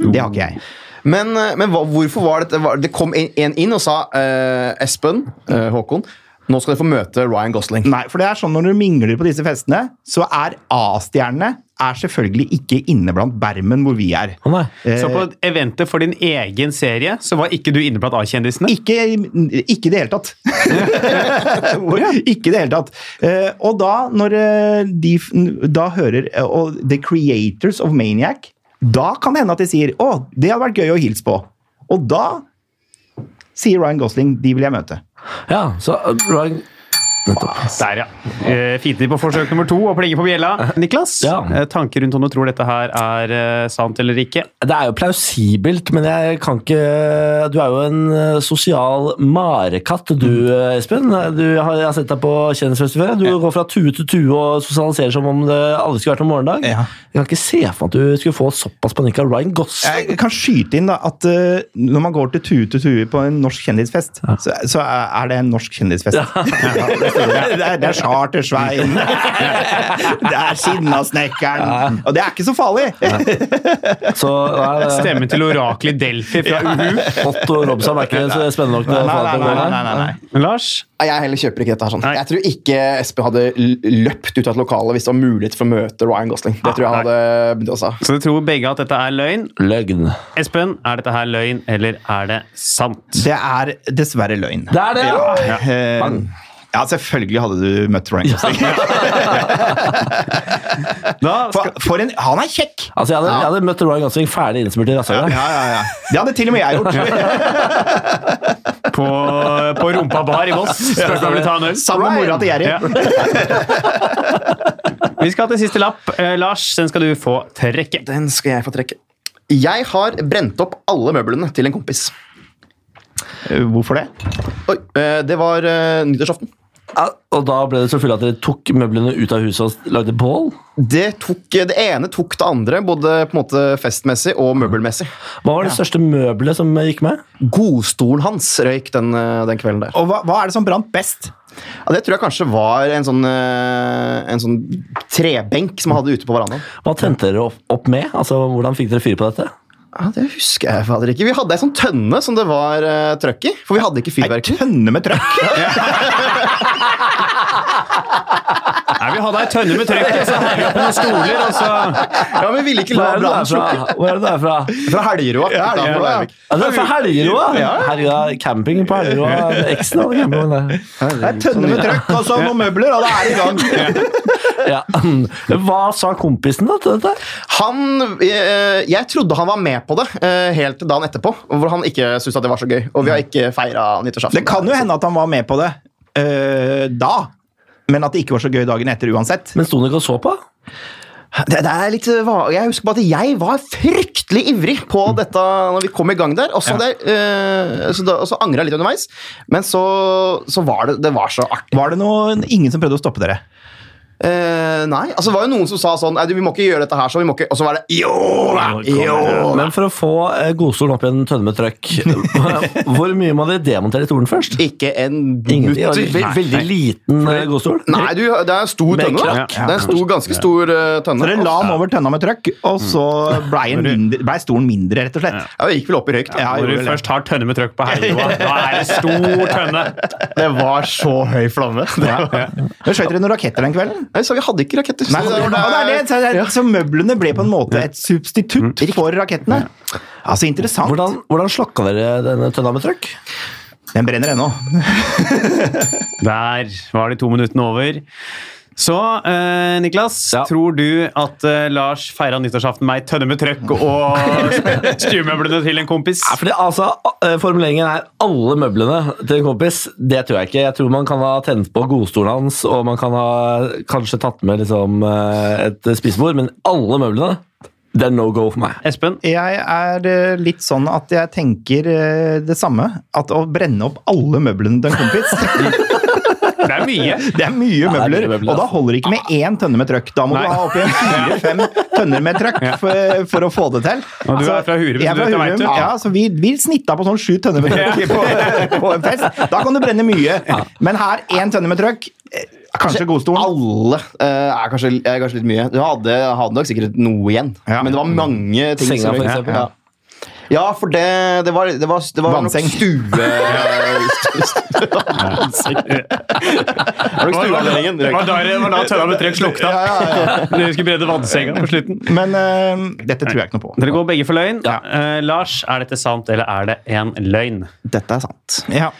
D: Det har ikke jeg.
C: Men, eh, men hva- hvorfor var dette var- Det kom en en inn og sa eh, Espen, eh, Håkon, nå skal dere få møte Ryan Gosling.
D: Nei, for det er sånn Når du mingler på disse festene, så er A-stjernene er selvfølgelig ikke inne blant bermen hvor vi er.
B: Å, nei.
A: Så på eventet for din egen serie, så var ikke du inne blant A-kjendisene?
D: Ikke, ikke i det hele tatt. Hvor- ikke i det hele tatt. Eh, Og da, når eh, de f- da hører eh, og The Creators of Maniac, da kan det hende at de sier 'Å, det hadde vært gøy å hilse på'. Og da sier Ryan Gosling 'De vil jeg møte'.
B: Ja, så uh, Ryan
A: Der, ja. Eh, Fintid på forsøk nummer to og plinge på bjella. Niklas,
B: Ja.
A: eh, tanker rundt om du tror dette her er eh, sant eller ikke?
B: Det er jo plausibelt, men jeg kan ikke Du er jo en eh, sosial marekatt,
D: Mm.
B: du eh, Espen. Du, jeg har jeg har sett deg på Kjendisfestival. Du går fra tue til tue og sosialiserer som om det aldri skulle vært noen morgendag.
D: Ja.
B: Jeg kan ikke se for meg at du skulle få såpass panikk av Ryan Gosling.
D: Jeg kan skyte inn da, at eh, når man går til tue til tue på en norsk kjendisfest, så, så er er det en norsk kjendisfest. det, er, det er Charter-Svein, det er Sinnasnekkeren, og det er ikke så farlig!
B: Så nei, det-
A: Stemmen til oraklet Delphi fra UHU.
B: Otto Robson er ikke så spennende nok til å
D: Nei,
B: få
D: nei,
B: deg til å
D: nei, nei,
B: gå der.
D: nei, nei.
A: Lars?
C: Nei, Jeg heller kjøper ikke dette. her sånn.
A: Nei.
C: Jeg tror ikke Espen hadde l- løpt ut av et lokale hvis det var mulighet for å møte Ryan Gosling. Det tror jeg han hadde begynt å sa.
A: Så dere tror begge at dette er løgn?
B: Løgn.
A: Espen, er dette her løgn, eller er det sant?
D: Det er dessverre løgn.
B: Det er det! Ja.
D: Eh, ja, selvfølgelig hadde du møtt Ryan Gosling.
A: Da skal,
D: For, for en, han er kjekk!
B: Altså, jeg hadde, jeg hadde møtt Ryan Gosling ferdig innsmurt i
D: Ja,
B: rasshølet.
D: ja, ja. Det hadde til og med jeg gjort.
A: på, på Rumpa bar i Voss. Spørs om jeg vil ta en øl.
D: Sammen med mora til Jerry.
A: Ja. Vi skal til siste lapp. Eh, Lars, den skal du få trekke.
C: Den skal jeg få trekke. Jeg har brent opp alle møblene til en kompis.
D: Eh, Hvorfor det?
C: Oi, eh, Det var eh, nyttårsaften.
B: Ja, og da ble det så fulle at dere tok møblene ut av huset og lagde bål?
C: Det, tok, eh, det ene tok det andre, både på en måte festmessig og møbelmessig.
B: Hva var det største møbelet som gikk med?
C: Godstolen hans røyk den, eh, den kvelden der.
D: Og hva, hva er det som brant best?
C: Ja, det tror jeg kanskje var en sånn, eh, en sånn trebenk som han hadde ute på verandaen.
B: Hva tente dere opp, opp med? Altså, Hvordan fikk dere fyr på dette?
C: Ja, Det husker jeg fader ikke. Vi hadde ei sånn tønne som det var uh, trøkk i. For vi hadde ikke
D: Ei
C: fyrverkeri.
D: tønne med trøkk!
A: Nei, vi hadde ei tønne med trykk, altså. og så henger vi opp noen stoler, og så
C: Ja, men vi ville ikke
B: Hvor
C: la
B: er det du er
C: brannen
B: fra?
C: slukke.
B: Hvor er det du er fra?
C: Fra Helgerud.
D: Ja, Helgerud, ja.
B: Ja, du er fra Helgeroa! Helga, camping på Helgeroa. Eksen hadde camping der.
D: Ei tønne med trøkk og så noen møbler, og da er det i gang!
B: Ja. Hva sa kompisen da til dette?
C: Han, eh, jeg trodde han var med på det eh, helt til dagen etterpå, hvor han ikke syntes at det var så gøy. Og vi har ikke feira nyttårsaften.
D: Det kan jo hende at han var med på det eh, da, men at det ikke var så gøy dagen etter uansett.
B: Men sto han ikke og så på?
C: Det, det er litt eh, va- Jeg husker bare at jeg var fryktelig ivrig på dette når vi kom i gang der. Og så, hadde jeg, eh, så, da, og så angra jeg litt underveis, men så, så var det, det var så artig.
D: Var det noen, ingen som prøvde å stoppe dere?
C: Eh, nei, altså det var jo noen som sa sånn «Nei, du, Vi må ikke gjøre dette her, så vi må ikke Og så var det Jo da! Jo da!
B: Men for å få eh, godstolen opp i en tønne med trøkk, hvor mye må dere demontere stolen først?
C: Ikke en
B: Ingen, ja,
C: mutter.
B: ve veldig liten eh, godstol.
C: Nei, du, det er en stor
B: Med
C: tønne. da.
B: krakk.
C: Det er en stor, ganske stor eh,
D: Så
C: tønne.
D: dere la han over tønna med trøkk, og så blei ble stolen mindre, rett og slett.
C: Ja, det gikk vel opp i røyk, da.
D: Mm. Ja,
A: Når
D: gjorde
A: du
D: vel det.
A: først har tønne med trykk på Helgeroa, da er det stor tønne.
C: Det var så høy flamme. Det var.
D: Men skjøt dere noen raketter den kvelden?
C: Nei, så vi hadde ikke raketter.
D: Nei,
C: så
D: det,
C: det var-
D: er det, Mm. så, det er- så møblene ble på en måte et substitutt for rakettene. Altså, interessant.
B: Hvordan, hvordan slokka dere denne tønna med trøkk?
D: Den brenner ennå.
A: Der var de to minuttene over. Så, eh, Niklas,
B: Ja.
A: tror du at eh, Lars feira nyttårsaften med ei tønne med trøkk og stuemøblene til en kompis?
B: Fordi altså, eh, Formuleringen er 'alle møblene til en kompis'. Det tror jeg ikke. Jeg tror man kan ha tent på godstolen hans, og man kan ha kanskje tatt med liksom, eh, et spisebord, men alle møblene, det er no go for meg.
A: Espen?
D: Jeg er eh, litt sånn at jeg tenker eh, det samme. At å brenne opp alle møblene til en kompis,
A: Det er mye.
D: det er mye
B: Ja, det er mye
D: møbler.
B: møbler,
D: Og da
B: altså.
D: holder det ikke med én tønne med trøkk. Da må
A: Nei.
D: du ha oppi en fire-fem tønner med trøkk for, for å få det til.
A: Og du er
D: Altså,
A: fra Hurum,
D: jeg
A: så
D: er fra
A: dette vet
D: Hurum,
A: du.
D: Ja, så vi, vi snitta på sånn sju tønner med trøkk på, på en fest. Da kan du brenne mye. Men her, én tønne med trøkk. eh, Kanskje godstolen.
C: Alle eh, er, kanskje, er kanskje litt mye. Du hadde, hadde nok sikkert noe igjen,
D: Ja.
C: men det var mange ting.
B: Senga,
C: som-
B: for eksempel.
C: Ja, ja. ja, for det, det var, det var, det var nok
D: Vannseng.
C: stue... Vannseng. Det var nok stueanledningen.
A: Det var
C: røyk.
A: da, det var da tønna med trøkk slukna. Dere skulle bredde vannsenga på slutten.
D: Men eh, dette tror jeg ikke noe på.
A: Dere går begge for løgn. Eh, Lars, er dette sant, eller er det en løgn?
C: Dette er sant.
D: Ja.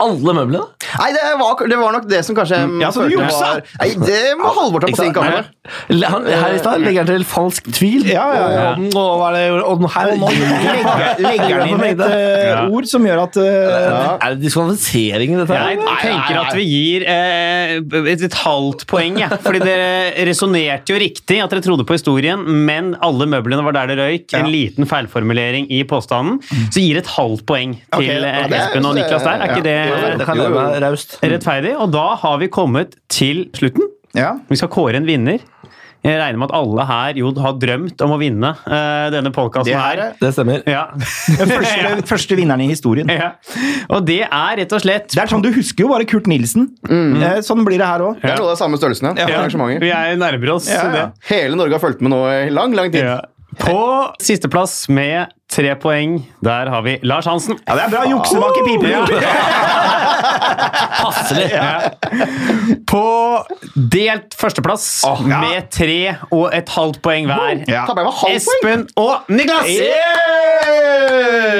B: Alle møblene?
C: Nei, det var, det var nok det som kanskje
A: Ja, så du
C: følte
A: juksa!
C: var- Nei, det må Halvor ta på sin
B: Nei,
C: kappe.
B: le- han- Her i stad legger han til falsk tvil.
D: Eh, Ja, ja, ja.
B: Og, og, hva er det, og den her
D: Legger, legger han inn et eh,
A: Ja.
D: ord som gjør at eh,
B: Er det diskvalifisering i dette? her?
A: Jeg tenker at vi gir eh, et, et halvt poeng, jeg. Fordi dere resonnerte jo riktig at dere trodde på historien, men alle møblene var der det røyk. En liten feilformulering i påstanden. Så gir et halvt poeng til
D: Ok, ja,
A: eh,
C: det er-
A: Espen og Niklas der. Er
C: ja,
A: ikke
B: Ja, Det
A: det
B: kan
C: Jo,
B: leve
C: jo.
B: meg raust.
A: rettferdig? Og da har vi kommet til slutten.
D: ja.
A: Vi skal kåre en vinner. Jeg regner med at alle her jo har drømt om å vinne eh, denne podkasten
D: Det her
A: her.
D: er
B: Det stemmer.
A: Ja.
D: den første, første vinneren i historien.
A: ja. Og det er rett og slett
D: Det er sånn, Du husker jo bare Kurt Nilsen. Eh, Sånn blir det her òg.
C: Jeg tror det er samme størrelsen. Ja.
A: Ja,
C: Arrangementer.
A: Vi er nærmer oss
D: Ja, ja.
C: Hele Norge har fulgt med nå i lang, lang tid.
A: det. Ja. På sisteplass med tre poeng, der har vi Lars Hansen.
D: Ja, det er bra juksemak i pipen!
B: Passelig.
A: På delt førsteplass
D: ja.
A: med tre og et halvt poeng hver.
D: Ja.
C: Ta med meg halvt poeng!
A: Espen og Niklas!
D: Yeah!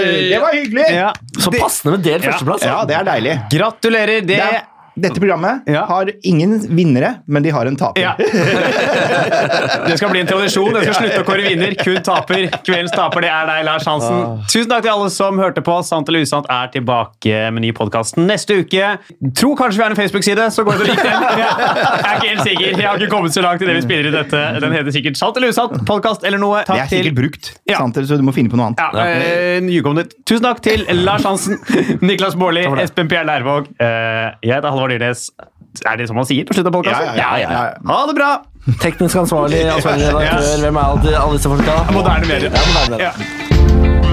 D: Det var hyggelig!
A: Ja.
B: Så passende med delt
A: Ja.
B: førsteplass. da.
D: Ja, det er deilig.
A: Gratulerer! Det
D: Det er- Dette programmet
A: Ja.
D: har ingen vinnere, men de har en taper.
A: Ja. Det skal bli en tradisjon. Jeg skal slutte å kåre vinner, kun taper. Kveldens taper, det er deg, Lars
D: Ah.
A: Hansen. Tusen takk til alle som hørte på. Sant eller usant er tilbake med ny podkast neste uke. Tror kanskje vi har en Facebook-side, så gå ut og lik den. Jeg er ikke helt sikker. Jeg har ikke kommet så langt i det vi spiller i dette. Den heter sikkert Sant eller usant, podkast eller noe.
D: Det
A: Takk
D: er
A: til
D: sikkert brukt,
A: Ja.
D: sant? så du må finne på noe annet.
A: ja, eh, ljug om det. Tusen takk til Lars Hansen, Niklas Baarli, Espen Pierre Lærvåg. Eh, jeg heter Halvard Dyrnes. Er det som man sier på slutten av podkasten?
D: Ja, ja, ja, ja.
A: Ha det bra!
B: Teknisk ansvarlig, ansvarlig redaktør, hvem er alle, alle disse folka?
A: Moderne medier.
B: Ja, moderne medier.
A: Ja.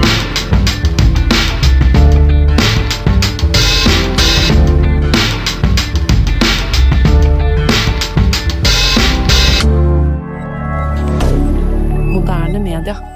E: Moderne media.